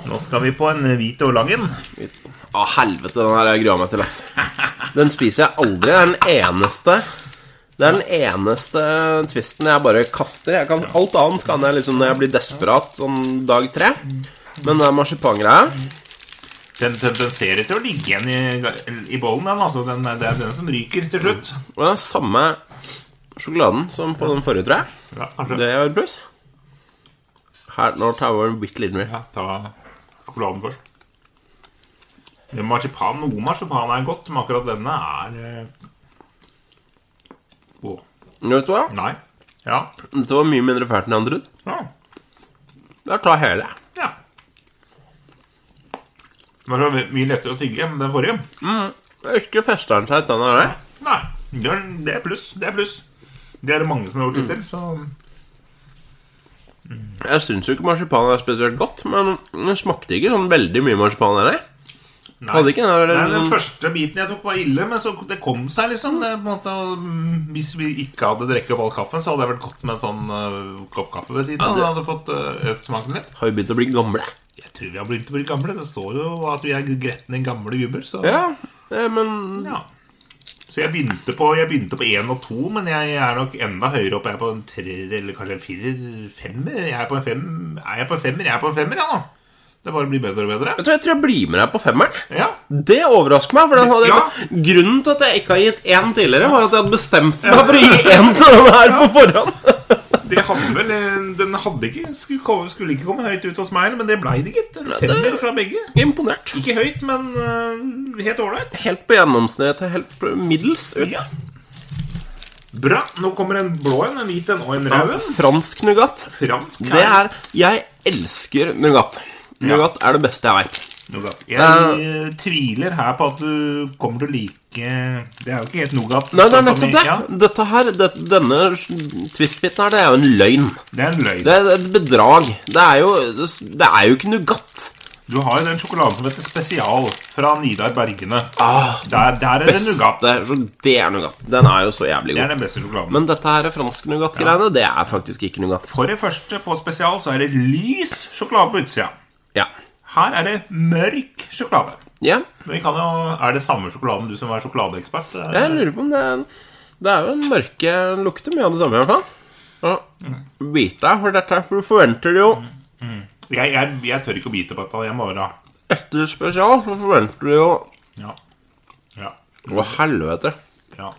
C: Nå skal vi på en hvit og lang en.
B: Å, helvete, den her har jeg grua meg til, ass. Den spiser jeg aldri. Det er den eneste Det er den eneste twisten jeg bare kaster. Jeg kan, alt annet kan jeg liksom når jeg blir desperat, sånn dag tre. Men den marsipangreia
C: Den tendenserer til å ligge igjen i, i bollen. Den, altså. den, det er den som ryker til slutt.
B: Og den samme sjokoladen som på den forrige, tror jeg.
C: Ja, kanskje.
B: Det er pluss. Her, nå tar jeg over en bitte liten mer.
C: Ja, ta sjokoladen først. Men Marsipan noe marsipan er godt, men akkurat denne er eh, Åh.
B: Vet du hva?
C: Nei. Ja.
B: Dette var mye mindre fælt enn jeg hadde trodd.
C: ja.
B: Jeg tar hele. jeg.
C: Ja. Det var så my- mye lettere å tygge enn den forrige.
B: Jeg husker festeren seg i stand av det.
C: Nei, det er, det er pluss. Det er pluss. Det er det mange som har gjort hittil, så
B: Jeg syns jo ikke marsipan er spesielt godt, men det smakte ikke sånn veldig mye marsipan heller.
C: Nei.
B: Hadde ikke den der- liksom-
C: Nei, Den første biten jeg tok, var ille, men så det kom seg, liksom. Det, er på en måte, mm, hvis vi ikke hadde drukket opp all kaffen, så hadde det vært godt med en sånn øh, kopp kaffe ved siden av.
B: det-
C: Da hadde jeg fått øh, økt smaken litt.
B: Har jo begynt å bli gamle.
C: Jeg tror vi har begynt å bli gamle. Det står jo at vi er gretne gamle gubber, så
B: Ja, eh, men
C: Ja. Så jeg begynte på Jeg begynte på én og to, men jeg er nok enda høyere opp. Jeg er på en treer eller kanskje en firer? Femmer? Jeg er på en fem, er jeg på en femmer? Jeg er på en femmer, ja nå. Det bare blir bedre og bedre.
B: Vet du, hva, jeg tror jeg blir med deg på femmeren.
C: Ja.
B: Det overrasker meg. for den hadde jeg, Grunnen til at jeg ikke har gitt én tidligere, var at jeg hadde bestemt meg for å gi én til den her på forhånd.
C: Det hadde vel eh, Den hadde ikke skulle, komme- skulle ikke komme høyt ut hos meg, men det blei det, gitt. En femmer fra begge.
B: Imponert.
C: Ikke høyt, men eh, helt ålreit.
B: Helt på gjennomsnittet. Helt på middels ut.
C: Ja. Bra. Nå kommer en blå en, en hvit en og en rød en.
B: Fransk nougat.
C: Fransk
B: Det er Jeg elsker nougat. Nougat er det beste jeg veit.
C: Nougat. Jeg eh, tviler her på at du kommer til å like Det er jo ikke helt nougat.
B: Nei, det
C: sånn
B: er
C: som
B: nettopp
C: i-
B: det. Dette her, det, denne twistbiten her, det er jo en løgn.
C: Ja, det er en løgn.
B: Det er et bedrag. Det er jo, det er jo ikke nougat.
C: Du har jo den sjokoladen som heter Spesial fra Nidar Bergene.
B: Ah,
C: Der, der er det nougat.
B: Beste så Det er nougat. Den er jo så jævlig
C: Det er
B: god.
C: den beste sjokoladen.
B: Men dette her fransk nougat-greiene, det er faktisk ikke nougat.
C: for det første, på Spesial så er det lys sjokolade på utsida.
B: Ja.
C: Her er det mørk sjokolade.
B: ja.
C: Men vi kan jo, Er det samme sjokoladen du som er sjokoladeekspert? Eh,
B: Jeg lurer på om det er Det er jo en mørke den lukter mye av det samme, i hvert fall.
C: Mm.
B: Og bit deg, for dette her, for du forventer det jo
C: Jeg, jeg, jeg tør ikke å bite på dette. Jeg må bare
B: etter spesial, så forventer du jo
C: Ja. Ja.
B: Å, helvete.
C: ja.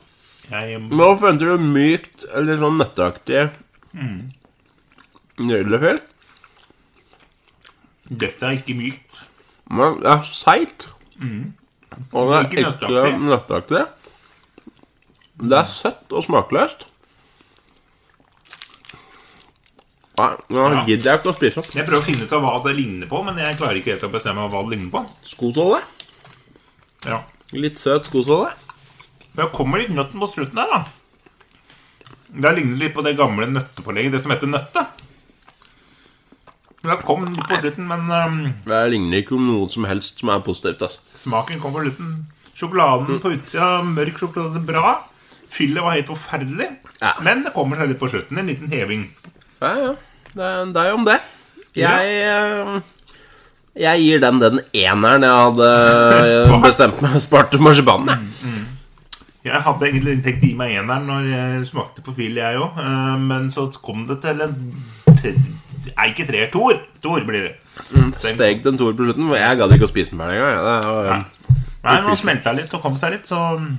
C: Jeg,
B: Nå forventer du mykt eller sånn nøtteaktig
C: Mm.
B: nudelfyll.
C: dette er ikke mykt.
B: Men det er seigt. Og det er
C: Mm. Ikke
B: ikke
C: nøtteaktig.
B: nøtteaktig. Det er søtt og smakløst. Nei, nå
C: Ja.
B: gidder jeg ikke å spise opp
C: Jeg prøver å finne ut av hva det ligner på, men jeg klarer ikke helt å bestemme hva det ligner på.
B: skosåle.
C: Ja.
B: Litt søt skosåle.
C: Men jeg kommer litt nøtten på slutten der, da. Det ligner litt på det gamle nøttepålegget, det som heter nøtte. Men Jeg kom litt på slutten, men ehm, øhm,
B: Det ligner ikke om noe som helst som er positivt. Altså.
C: smaken kom på slutten.
B: Mm.
C: Sjokoladen på utsida, mørk sjokolade, bra. Fyllet var helt forferdelig.
B: Ja.
C: Men det kommer seg litt på slutten. En liten heving.
B: Ja, ja. Det er deg om det.
C: Ja.
B: Jeg eh, Jeg gir den den eneren jeg hadde eh,
C: Spart.
B: bestemt meg spart Mm, til marsipanen. jeg.
C: Jeg hadde egentlig tenkt å gi meg eneren når jeg smakte på fil, jeg òg. Men så kom det til en til, Nei, ikke treer. Tor! Tor blir det. Den-
B: Steg den toer på slutten, for jeg gadd ikke å spise den ferdig engang. jeg. Det var-
C: Nei, nå smelta litt og kom seg litt, så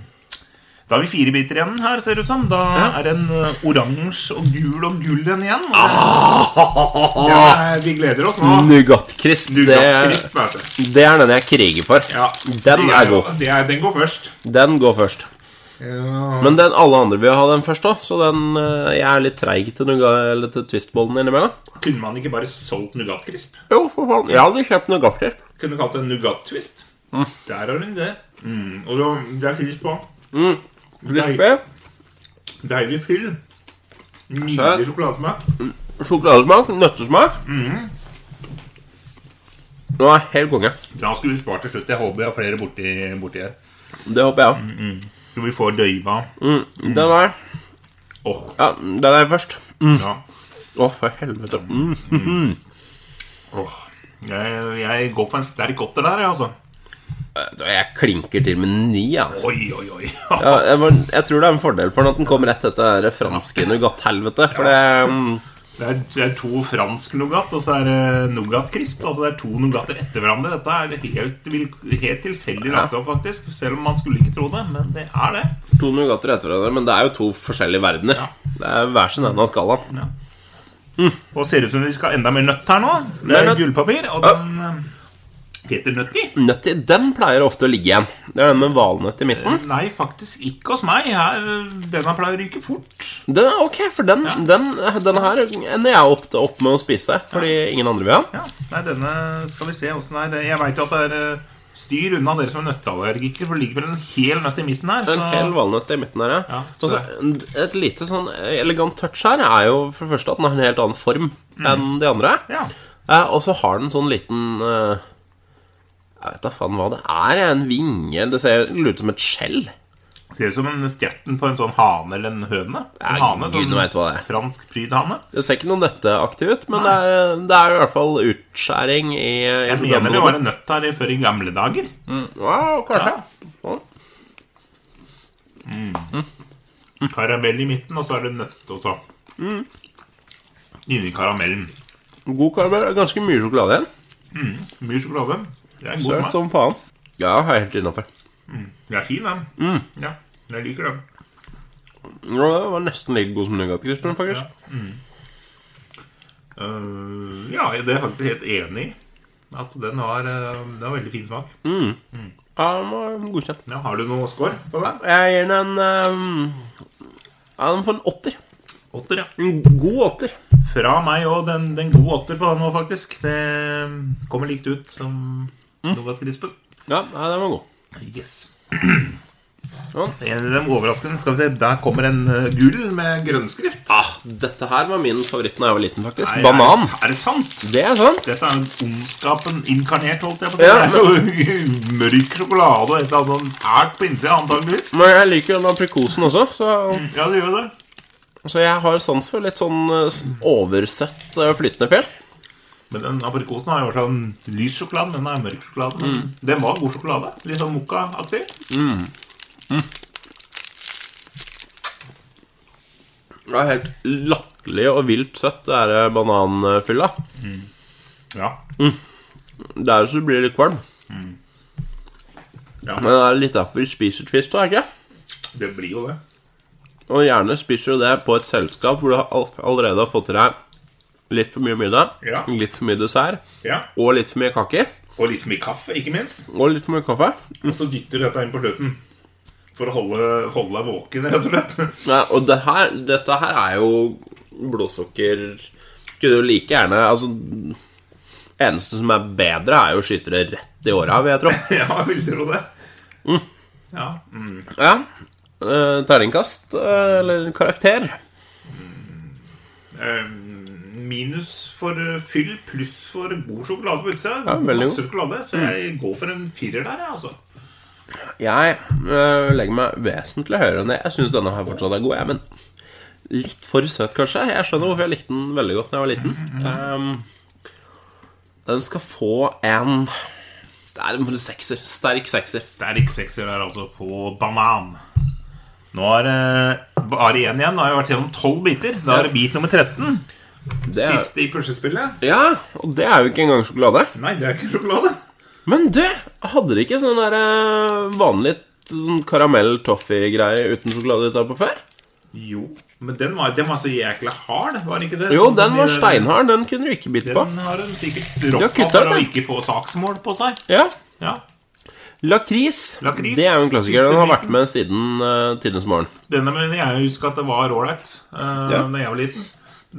C: Da har vi fire biter igjen her, ser det ut som. Da er det en eh, oransje og gul og gull en igjen.
B: Ah!
C: Ja, vi gleder oss nå.
B: Nougat-krisp,
C: Du, ja,
B: Mm, det,
C: Chris, vet du.
B: det er den jeg kriger for.
C: Ja.
B: Den er god.
C: Det er, den går først.
B: Den går først.
D: Ja.
B: Men den, alle andre vil ha den først òg, så den, eh, jeg er litt treig til, nougat- eller til twistbollen innimellom.
C: Kunne man ikke bare solgt Nougat-krisp?
B: Jo, for faen. Jeg hadde kjøpt nougatkrepp.
C: Kunne kalt det Nougat-twist. Der har du en idé. Mm. Og da- det er krisp på.
B: Crispy.
C: Deilig fyll. Nydelig sjokoladesmak.
B: Sjokoladesmak. Nøttesmak. Nå er jeg helt konge.
C: Da skulle vi spart til slutt. Jeg håper vi har flere borti, borti her.
B: Det håper jeg òg.
C: Så vi får døyva.
B: Den er
C: Åh,
B: Ja, den er først.
C: ja.
B: Å, Mm. for helvete. Mm.
C: Åh. Jeg, jeg går for en sterk åtter der, jeg, altså.
B: Jeg klinker til med ni. jeg, Altså.
C: Oi, oi, oi.
B: Ja, jeg, var- jeg tror det er en fordel for den at den kom rett etter det franske nougat-helvetet. For det mm,
C: Det er, det er to fransk nougat, og så er det nougat-krisp. Altså det er to nougater etter hverandre. Dette er helt, vil- helt tilfeldig lagt opp, faktisk. Selv om man skulle ikke tro det, men det er det.
B: to nougater etter hverandre, men det er jo to forskjellige verdener.
C: Ja.
B: Det er hver sin ende av skalaen.
C: Og ser ut som vi skal ha enda mer nøtt her nå. Det
B: Mer
C: er
B: nøtt.
C: gullpapir, og den eh, heter Nøtti.
B: Nøtt i den pleier ofte å ligge igjen. Det er den med valnøtt i midten.
C: Nei, faktisk ikke hos meg. Her, denne pleier å ryke fort.
B: Den er ok, for den, den, denne her ender jeg ofte opp med å spise fordi ingen andre vil ha den.
C: Ja, nei, denne skal vi se åssen er. det. Jeg veit jo at det er eh, styr unna dere som er nøtteallergikere, for det ligger vel en hel nøtt i midten her.
B: En hel valnøtt i midten her, ja.
C: Ja,
B: Og så et lite sånn elegant touch her er jo for det første at den har en helt annen form enn de andre.
C: Mm. Ja.
B: Eh, Og så har den sånn liten eh, Jeg vet da faen hva det er. En vinge Det ser lurer ut som et skjell.
C: Ser ut som en stjerten på en sånn hane eller en høne. En
B: Ja,
C: hane, sånn
B: Gud, nå vet du hva det er.
C: fransk prydhane.
B: Det ser ikke noe nøtteaktig ut, men det er, det er i hvert fall utskjæring i, i
C: Jeg mener det var en nøtt her i- før i gamle dager.
B: Wow, kanskje. Sånn.
C: Karamell i midten, og så er det nøtt og så Mm. Inni karamellen.
B: God karamell. det er Ganske mye sjokolade igjen.
C: Mye sjokolade. Det er en god
B: Søt
C: smak.
B: som faen. Ja, jeg er helt innafor.
C: Det er fin, den. Ja, jeg liker den.
B: Det var nesten like god som nougatkrispen, faktisk.
C: Ja. Øh, ja, det er jeg faktisk helt enig i. At den har, øh, den har veldig fin smak.
B: Ja, den var godkjent.
C: Ja, har du noe score på den?
B: Jeg gir den en um, Ja, den får en åtter.
C: Åtter, ja.
B: En god åtter.
C: Fra meg òg. Den, den gode åtter på den nå, faktisk. Det kommer likt ut som Mm. nougatkrispen.
B: Ja, nei, den var god.
C: Yes.
B: Ja.
C: En av dem overraskende. Skal vi se, Der kommer en øh, gull med grønnskrift.
B: Ah, dette her var min favoritt da jeg var liten, faktisk.
C: Nei,
B: Banan.
C: Er det, er det sant?
B: Det er sant.
C: Dette er jo ondskapen inkarnert, holdt jeg på å si.
B: Ja.
C: Det er jo mørk sjokolade og et eller annet sånn fælt på innsida, antakeligvis.
B: Men jeg liker den aprikosen også, så
C: Ja, det gjør jo det.
B: Så jeg har sans for litt sånn eh, s- oversøtt eh, flytende fjell.
C: Men den aprikosen har jo vært sånn lys sjokolade. Den er mørk sjokolade. Men den var god sjokolade. Litt sånn mokkaaktig.
B: Det er helt latterlig og vilt søtt, det der eh, bananfylla.
C: Ja.
B: Det er jo så du blir litt kvalm. Mm.
C: Ja.
B: Men det er litt derfor vi spiser twist, er det ikke?
C: Det blir jo det.
B: Og gjerne spiser du det på et selskap hvor du har all- allerede har fått i deg litt for mye middag,
C: Ja.
B: litt for mye dessert,
C: Ja.
B: og litt for mye kaker,
C: Og litt mye kaffe, ikke minst.
B: og litt for mye kaffe.
C: Og så dytter du dette inn på slutten. For å holde, holde deg våken, rett og slett.
B: Nei, og det her, dette her er jo blodsukker Skulle jo like gjerne Altså Eneste som er bedre, er jo å skyte det rett i åra, vil jeg tro.
C: ja, jeg vil tro det. Ja. Mm.
B: Ja. Eh, Terningkast, eh, eller karakter?
C: Eh, Minus for eh, fyll, pluss for god sjokolade på utsida.
B: Ja,
C: Masse
B: veldig god. Mm.
C: sjokolade. Så jeg går for en firer der, jeg, altså.
B: Jeg eh, legger meg vesentlig høyere enn det. Jeg syns denne her fortsatt er god, jeg, men litt for søt, kanskje. Jeg skjønner hvorfor jeg likte den veldig godt da jeg var liten. Ehm, den skal få en Det er en sekser. Sterk sekser.
C: Sterk sekser der altså på banan. Nå er eh, det bare én igjen. Nå har jeg vært gjennom tolv biter. Da er det bit nummer 13.
B: Det er,
C: Siste i puslespillet.
B: Ja, og det er jo ikke engang sjokolade.
C: Nei, det er ikke sjokolade.
B: Men du, hadde dere ikke sånn der eh, vanlig sånn karamell-toffee-greie uten sjokolade utapå før?
C: Jo, men den var, den var så jækla hard, var den eh, ikke det?
B: Jo, den var
C: De-
B: steinhard. Den kunne du ikke bite på.
C: Den har hun sikkert
B: har
C: rocka
B: kuttet
C: for å
B: den.
C: ikke få saksmål på seg.
B: Ja,
C: Ja,
B: Lakris.
C: Lakris.
B: Det er jo en klassiker. Den har vært med siden uh, tidenes morgen.
C: Denne mener jeg husker at det var ålreit uh,
B: Ja.
C: da jeg var liten.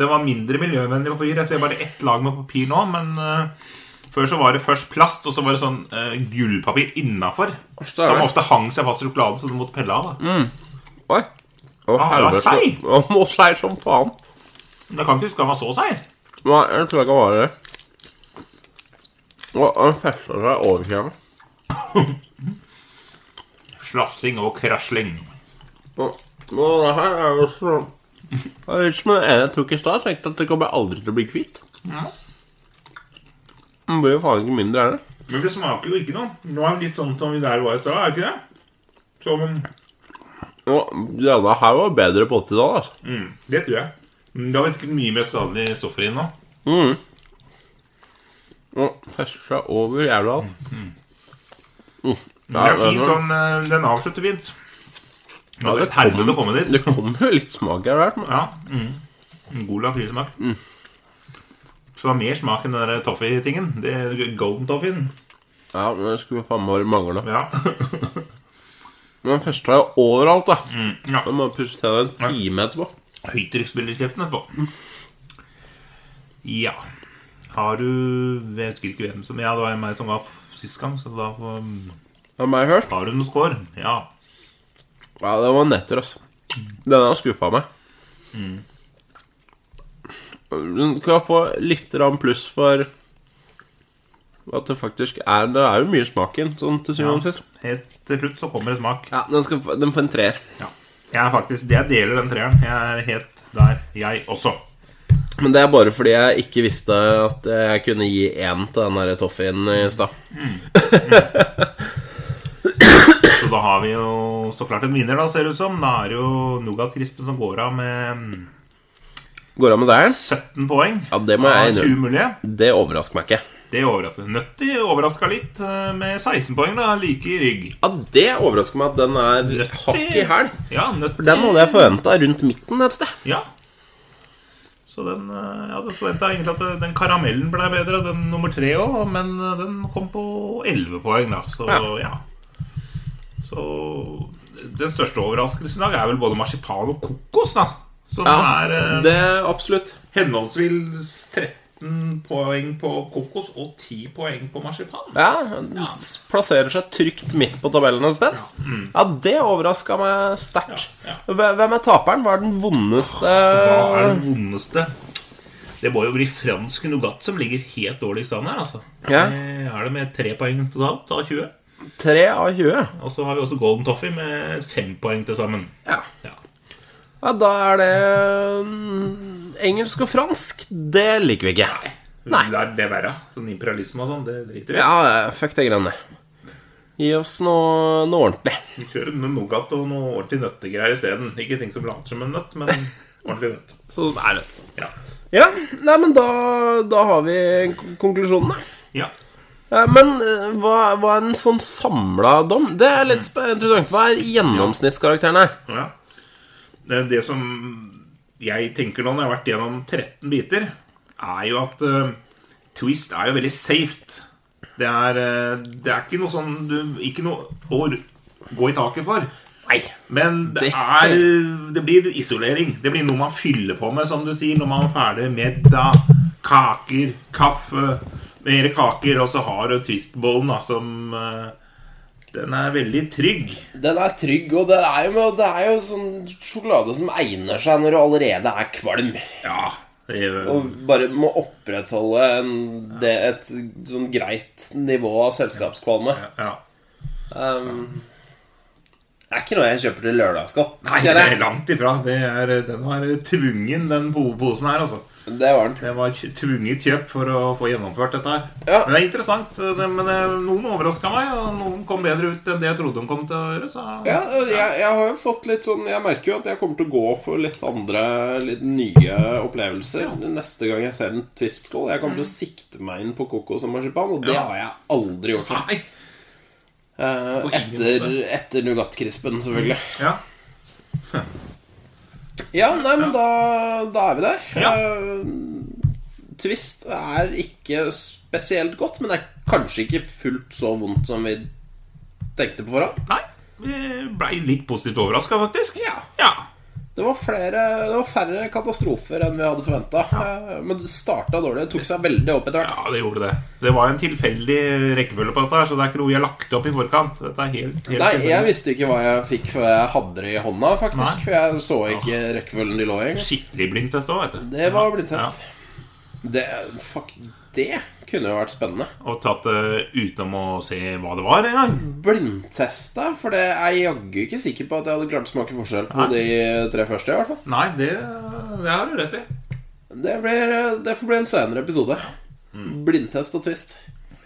C: Det var mindre miljøvennlig papir. Jeg ser bare ett lag med papir nå, men eh, før så var det først plast, og så var det sånn eh, gullpapir innafor.
B: er det. Mm.
C: Som ofte hang seg fast i sjokoladen, så du måtte pelle av. da
B: Oi.
C: Ah,
B: Å,
C: det var
B: helvete.
C: seig.
B: Å, må seig som faen.
C: Men Jeg kan ikke huske han var så seig.
B: Nei, jeg tror ikke det var det. Å, Han festa seg over kjelen.
C: Slafsing og krasling.
B: Å, å, det her er jo sånn Det er litt som den ene jeg tok i stad. Tenkte at det kommer jeg aldri til å bli kvitt. Den blir jo faen ikke mindre, er det?
C: Men det smaker jo ikke noe. Nå er det litt sånn som vi der var i stad, er det ikke det? Som
B: Å, denne her var bedre på 80-tallet, altså.
C: Det tror jeg. Det har sikkert mye mer skadelige stoffer i nå.
B: Og fester seg over jævla alt. Mm.
C: Det Mhm.
B: Ja,
C: er fint
B: det-
C: sånn eh, Den avslutter fint. Ja, det
B: det
C: er helvete å komme dit.
B: Det kommer jo litt smak her hvert. men-
C: Ja. Mm. En God lakrismak. Så det var mer smak enn den der toffee-tingen. Det er Golden toffeen.
B: Ja, men det skulle faen meg være manglende.
C: Ja.
B: Men fester seg overalt, da. Mm.
C: ja.
B: må pusse til deg en time etterpå.
C: Høytrykksbilder i kjeften etterpå. Ja. Har du Jeg husker ikke hvem som Ja, det var meg som var f- sist gang, så da får-
B: Har meg hørt?
C: har du noen score. Ja.
B: Ja, det var netter, altså. Denne har skuffa meg. Du skal få litt grann pluss for at det faktisk er Det er jo mye smak i den, sånn til syvende og sist.
C: Helt til slutt så kommer det smak.
B: Ja, den, skal, få- den får en treer.
C: Ja. Jeg er faktisk Jeg deler den treeren. Jeg er helt der, jeg også.
B: Men det er bare fordi jeg ikke visste at jeg kunne gi én til den der toffeen i stad.
C: Så da har vi jo så klart en vinner, da, ser det ut som. Da er det jo Nougat-krispen som går av med
B: Går det an med seieren?
C: 17 poeng.
B: Ja, det må jeg
C: Av
B: innrømme.
C: 20 mulige.
B: Det overrasker meg ikke.
C: Det overrasker. Nøtti overraska litt eh, med 16 poeng, da. Like i rygg.
B: Ja, Det overrasker meg at den er
C: Nøtti.
B: hakk i hæl.
C: Ja, Nøtti
B: Den hadde jeg forventa rundt midten et sted.
C: Ja. Så den eh, Ja, du forventa egentlig at eh, den karamellen ble bedre, den nummer tre òg, men eh, den kom på 11 poeng, da. Så ja.
B: Ja.
C: Så den største overraskelsen i dag er vel både marsipan og kokos, da. Som er eh,
B: det absolutt.
C: Henholdsvis 13 poeng på kokos og 10 poeng på marsipan.
B: Ja, den s- plasserer seg trygt midt på tabellen et sted. Mm. Ja, det overraska meg sterkt.
C: Ja,
B: Hve- Hvem er taperen? Hva er den vondeste
C: Hva er det vondeste? Det må jo bli fransk nougat som ligger helt dårligst an her, altså.
B: Ja.
C: Eh, Er det med 3 poeng totalt av 20?
B: 3 av 20?
C: Og så har vi også Golden Toffee med 5 poeng til sammen.
B: Ja.
C: Ja.
B: Ja, da er det mm, engelsk og fransk. Det liker vi ikke. Nei.
C: Det er det er verre. Sånn imperialisme og sånn, det driter vi i.
B: Ja, fuck de greiene. Gi oss noe, noe ordentlig.
C: Vi Kjører noe nougat og noe ordentlig nøttegreier isteden. Ikke ting som later som en nøtt, men ordentlig nøtt.
B: Så er det.
C: Ja.
B: Ja, nei, men da, da har vi kon- konklusjonen, da.
C: ja.
B: Eh, Men eh, hva, hva er en sånn samla dom? Det er litt sp- interessant. Hva er gjennomsnittskarakteren her?
C: Ja. Det, er det som jeg tenker nå når jeg har vært gjennom 13 biter, er jo at eh, Twist er jo veldig safe. Det er, eh, det er ikke noe sånn du, Ikke noe å gå i taket for.
B: Nei.
C: Men det,
B: Det-
C: er, det blir isolering. Det blir noe man fyller på med, som du sier, når man er ferdig. Middag, kaker, kaffe, mer kaker. Og så har du Twist-bollen, da, som eh, Den er veldig trygg.
B: Den er trygg, og det er, jo, det er jo sånn sjokolade som egner seg når du allerede er kvalm.
C: Ja. Det er,
B: Og bare må opprettholde en, det, et sånn greit nivå av selskapskvalme.
C: ja.
B: Um, det er ikke noe jeg kjøper til lørdagsgodt.
C: Nei,
B: skal
C: det er
B: jeg-
C: langt ifra. Det er, den var tvungen, den po- posen her, altså.
B: det var den.
C: Det var kj- tvunget kjøp for å få gjennomført dette her.
B: Ja.
C: Men det er interessant. eh, Det, men det, noen overraska meg, og noen kom bedre ut enn det jeg trodde de kom til å gjøre. Så
B: Ja, jeg, jeg har jo fått litt sånn Jeg merker jo at jeg kommer til å gå for litt andre, litt nye opplevelser neste gang jeg ser en twistskål. Jeg kommer til å sikte meg inn på kokos og marsipan, og det
C: Mm. Ja.
B: har jeg aldri gjort før.
C: Nei.
B: Eh,
C: ingen Mm.
B: etter etter nougatkrispen, selvfølgelig.
C: Ja.
B: Ja, nei, men da, da er vi der.
C: Ja.
B: Eh, twist er ikke spesielt godt, men det er kanskje ikke fullt så vondt som vi tenkte på forhånd.
C: Nei, vi blei litt positivt overraska, faktisk.
B: Ja.
C: ja.
B: Det var, flere, det var færre katastrofer enn vi hadde forventa. Men det starta dårlig. Det tok seg veldig opp etter hvert.
C: Ja, det gjorde det. Det var en tilfeldig rekkefølge på dette, her, så det er ikke noe vi har lagt opp i forkant. Dette er helt, helt
B: Nei,
C: tilfeldig.
B: jeg visste ikke hva jeg fikk før jeg hadde det i hånda, faktisk.
C: Nei.
B: For jeg så ikke rekkefølgen de lå i.
C: Skikkelig blindtest òg, vet du.
B: Det var blindtest. Det, fuck, det kunne jo vært spennende.
C: Ja, og tatt det utenom å se hva det var engang.
B: Blindtesta, for det er jeg jaggu ikke sikker på at jeg hadde klart å smake forskjell på
C: Nei.
B: de tre første. i hvert fall
C: Nei, det, det har du rett i.
B: Det, blir, det får bli en senere episode.
C: Mm.
B: Blindtest og twist.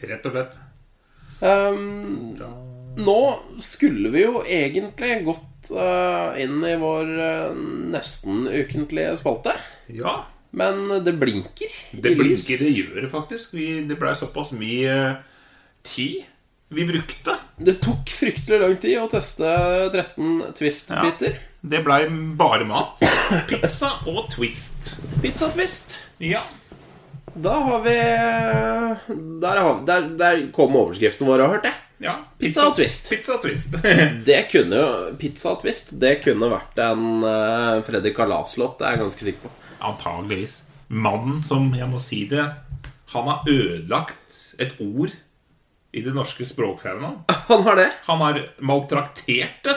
C: Rett og slett.
B: Ehm, nå skulle vi jo egentlig gått eh, inn i vår eh, nesten ukentlige spalte.
C: Ja.
B: Men det blinker.
C: Det
B: i lys.
C: blinker, det gjør det faktisk. Vi, det blei såpass mye eh, tid vi brukte.
B: Det tok fryktelig lang tid å teste 13 Twist-biter.
C: Det blei bare mat. Pizza og Twist.
B: Pizza Twist.
C: Ja.
B: Da har vi Der, har, der, der kom overskriften vår, har hørt det.
C: ja.
B: Pizza og Twist.
C: Pizza og Twist.
B: Det kunne jo Pizza Twist Det kunne vært en uh, Freddy Kalas-låt, det er jeg ganske sikker på.
C: Antageligvis. Mannen som, jeg må si det, han har ødelagt et ord i det norske språkfaunaen.
B: Han har det.
C: Han har maltraktert det.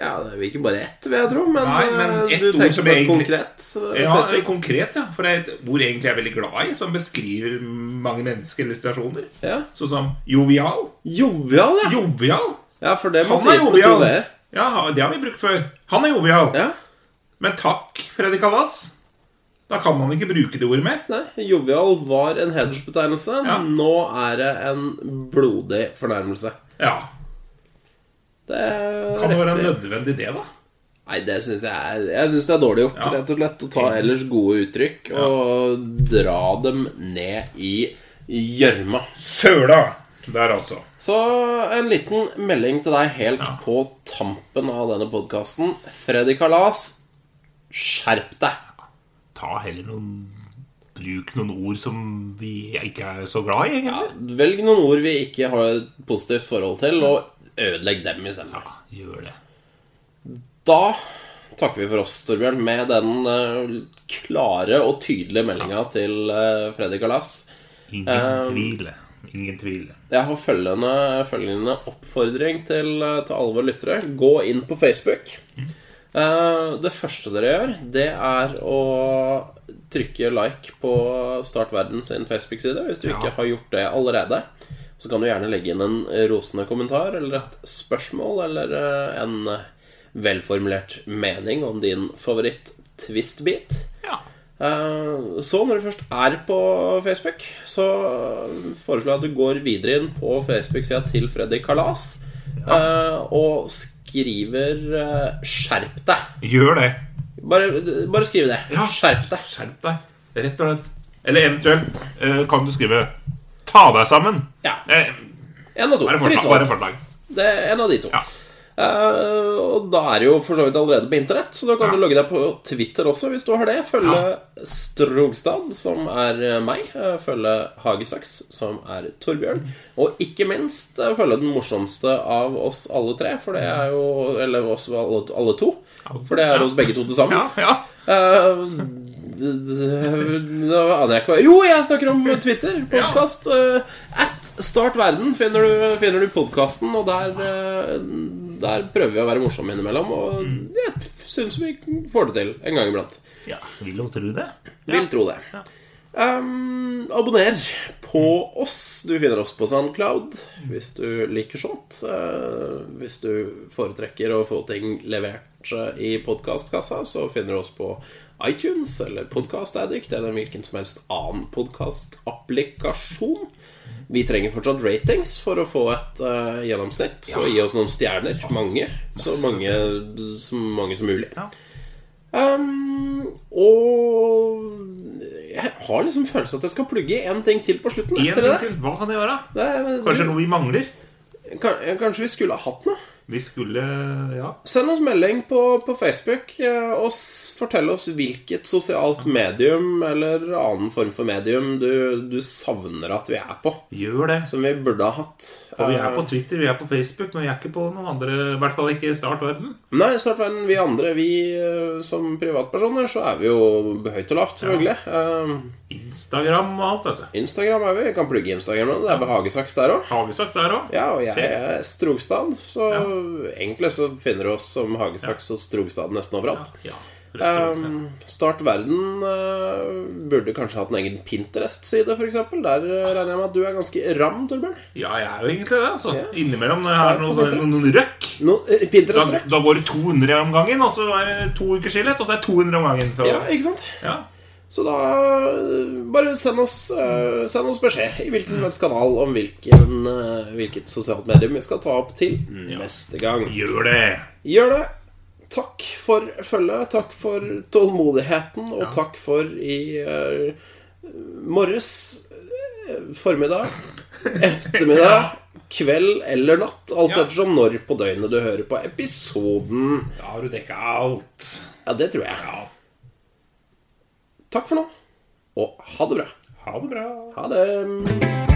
B: Ja, det er jo ikke bare ett, vil jeg tro, men,
C: Nei, men
B: eh,
C: ett
B: du
C: ord
B: tenker
C: som
B: på et
C: egentlig-
B: konkret. eh,
C: Ja,
B: spesifikt.
C: konkret, ja. For det er et ord jeg egentlig er veldig glad i, som beskriver mange mennesker eller situasjoner.
B: Ja.
C: Sånn som jovial.
B: Jovial, ja.
C: Jovial!
B: Ja, for det må
C: Han er
B: sies med to
C: jovial.
B: v-er.
C: Ja, det har vi brukt før. Han er jovial.
B: Ja.
C: Men takk, Freddy Kalas. Da kan man ikke bruke det ordet mer.
B: Nei, jovial var en hedersbetegnelse.
C: Ja.
B: Nå er det en blodig fornærmelse.
C: Ja.
B: Det er
C: Kan det være
B: rett-
C: en nødvendig det, da?
B: Nei, det syns jeg er Jeg synes det er dårlig gjort,
C: Ja.
B: rett og slett. Å ta ellers gode uttrykk og dra dem ned i gjørma.
C: Søla! Der, altså.
B: Så en liten melding til deg helt på tampen av denne podkasten. Freddy Kalas, skjerp deg!
C: ta heller noen Bruk noen ord som vi ikke er så glad i, egentlig.
B: Velg noen ord vi ikke har et positivt forhold til, og ødelegg dem isteden.
C: Ja, gjør det.
B: Da takker vi for oss, Torbjørn, med den eh, klare og tydelige meldinga til eh, Freddy Kalas.
C: Ingen tvil. Ingen tvil.
B: Jeg har følgende, følgende oppfordring til, eh, til alle våre lyttere. Gå inn på Facebook. Eh, det første dere gjør, det er å trykke like på Start Verden sin Facebook-side, hvis du ikke har gjort det allerede. Så kan du gjerne legge inn en rosende kommentar eller et spørsmål eller eh, en velformulert mening om din favoritt-twist-bit.
C: Ja.
B: Eh, Så når du først er på Facebook, så foreslår jeg at du går videre inn på Facebook-sida til Freddy Kalas eh, og skriver eh, 'skjerp deg'.
C: Gjør det.
B: Bare, bare skriv det.
C: Ja.
B: Skjerp deg.
C: Skjerp deg. Rett og slett. Eller eventuelt eh, kan du skrive 'ta deg sammen'.
B: Ja.
C: Eh,
B: En av to.
C: bare
B: Fritt
C: forslag. Bare
B: valg.
C: forslag.
B: Det er en av de to.
C: Ja.
B: Eh, og da er det jo for så vidt allerede på internett, så da kan du logge deg på Twitter også hvis du har det. Følge Strogstad, som er eh, meg. Eh, Følge Hagesaks, som er Torbjørn. Og ikke minst eh, følge den morsomste av oss alle tre, for det er jo Eller oss alle, alle to. For det er oss begge to til sammen.
C: Ja, ja.
B: Eh, d- d- Nå aner jeg ikke hva Jo, jeg snakker om Twitter. Podkast. at Start Verden finner du, finner du podkasten, og der, eh, der prøver vi å være morsomme innimellom. Og jeg syns vi får det til en gang iblant.
C: ja. Vil jo tro det.
B: Vil tro det. Um, abonner på oss. Du finner oss på SoundCloud hvis du liker sånt. Eh, hvis du foretrekker å få ting levert eh, i podkastkassa, så finner du oss på iTunes eller Podcast Addict eller hvilken som helst annen podkastapplikasjon. Vi trenger fortsatt ratings for å få et eh, gjennomsnitt. Så gi oss noen stjerner. Mange. Så mange, så mange som mulig. Um, og jeg har liksom følelsen at jeg skal plugge en ting til på slutten.
C: En
B: etter det
C: ting til. Hva kan det være?
B: der. Det er-
C: Kanskje noe vi mangler?
B: Kan- Kanskje vi skulle ha hatt noe?
C: Vi skulle Ja.
B: Send oss melding på, på Facebook eh, og s- fortell oss hvilket sosialt medium eller annen form for medium du, du savner at vi er på.
C: Gjør det.
B: Som vi burde ha hatt. Eh,
C: Og vi er på Twitter, vi er på Facebook, men vi er ikke på noen andre I hvert fall ikke i startverden.
B: Nei, snart verden. Vi andre, vi eh, som privatpersoner, så er vi jo høyt og lavt, selvfølgelig. Eh,
C: Instagram og alt, vet du.
B: Instagram er vi. Vi kan plugge Instagram nå. Det er behagesaks der òg.
C: Hagesaks der òg.
B: Ja, og jeg
C: Se.
B: er Strogstad, så egentlig så finner du oss som Hagesaks og Strogstad nesten overalt.
C: Ja, rett og slett.
B: Um, Start Verden eh, burde kanskje hatt en egen Pinterest-side, f.eks. Der eh, regner jeg med at du er ganske ram, Torbjørn.
C: ja, jeg er jo egentlig det. altså
B: Ja.
C: Innimellom når jeg har
B: Ja, på
C: noe,
B: Pinterest.
C: noen røkk,
B: No, eh,
C: da,
B: Pinterest-trøkk?
C: da går det 200 om gangen, og så er det to uker skillet, og så er det 200 om gangen. Så,
B: Ja, ikke sant?
C: ja.
B: Så da eh, bare send oss, eh, send oss beskjed i
C: Mm.
B: hvilken som helst kanal om hvilken, eh, hvilket sosialt medium vi skal ta opp til neste gang.
C: Gjør det.
B: Gjør det! Takk for følget, takk for tålmodigheten, og takk for i eh, morges, eh, formiddag, ettermiddag, kveld eller natt. Alt
C: Ja.
B: ettersom når på døgnet du hører på episoden.
C: Da har du dekka alt.
B: Ja, det tror jeg.
C: Ja.
B: Takk for nå, og ha det bra.
C: Ha det bra.
B: Ha det.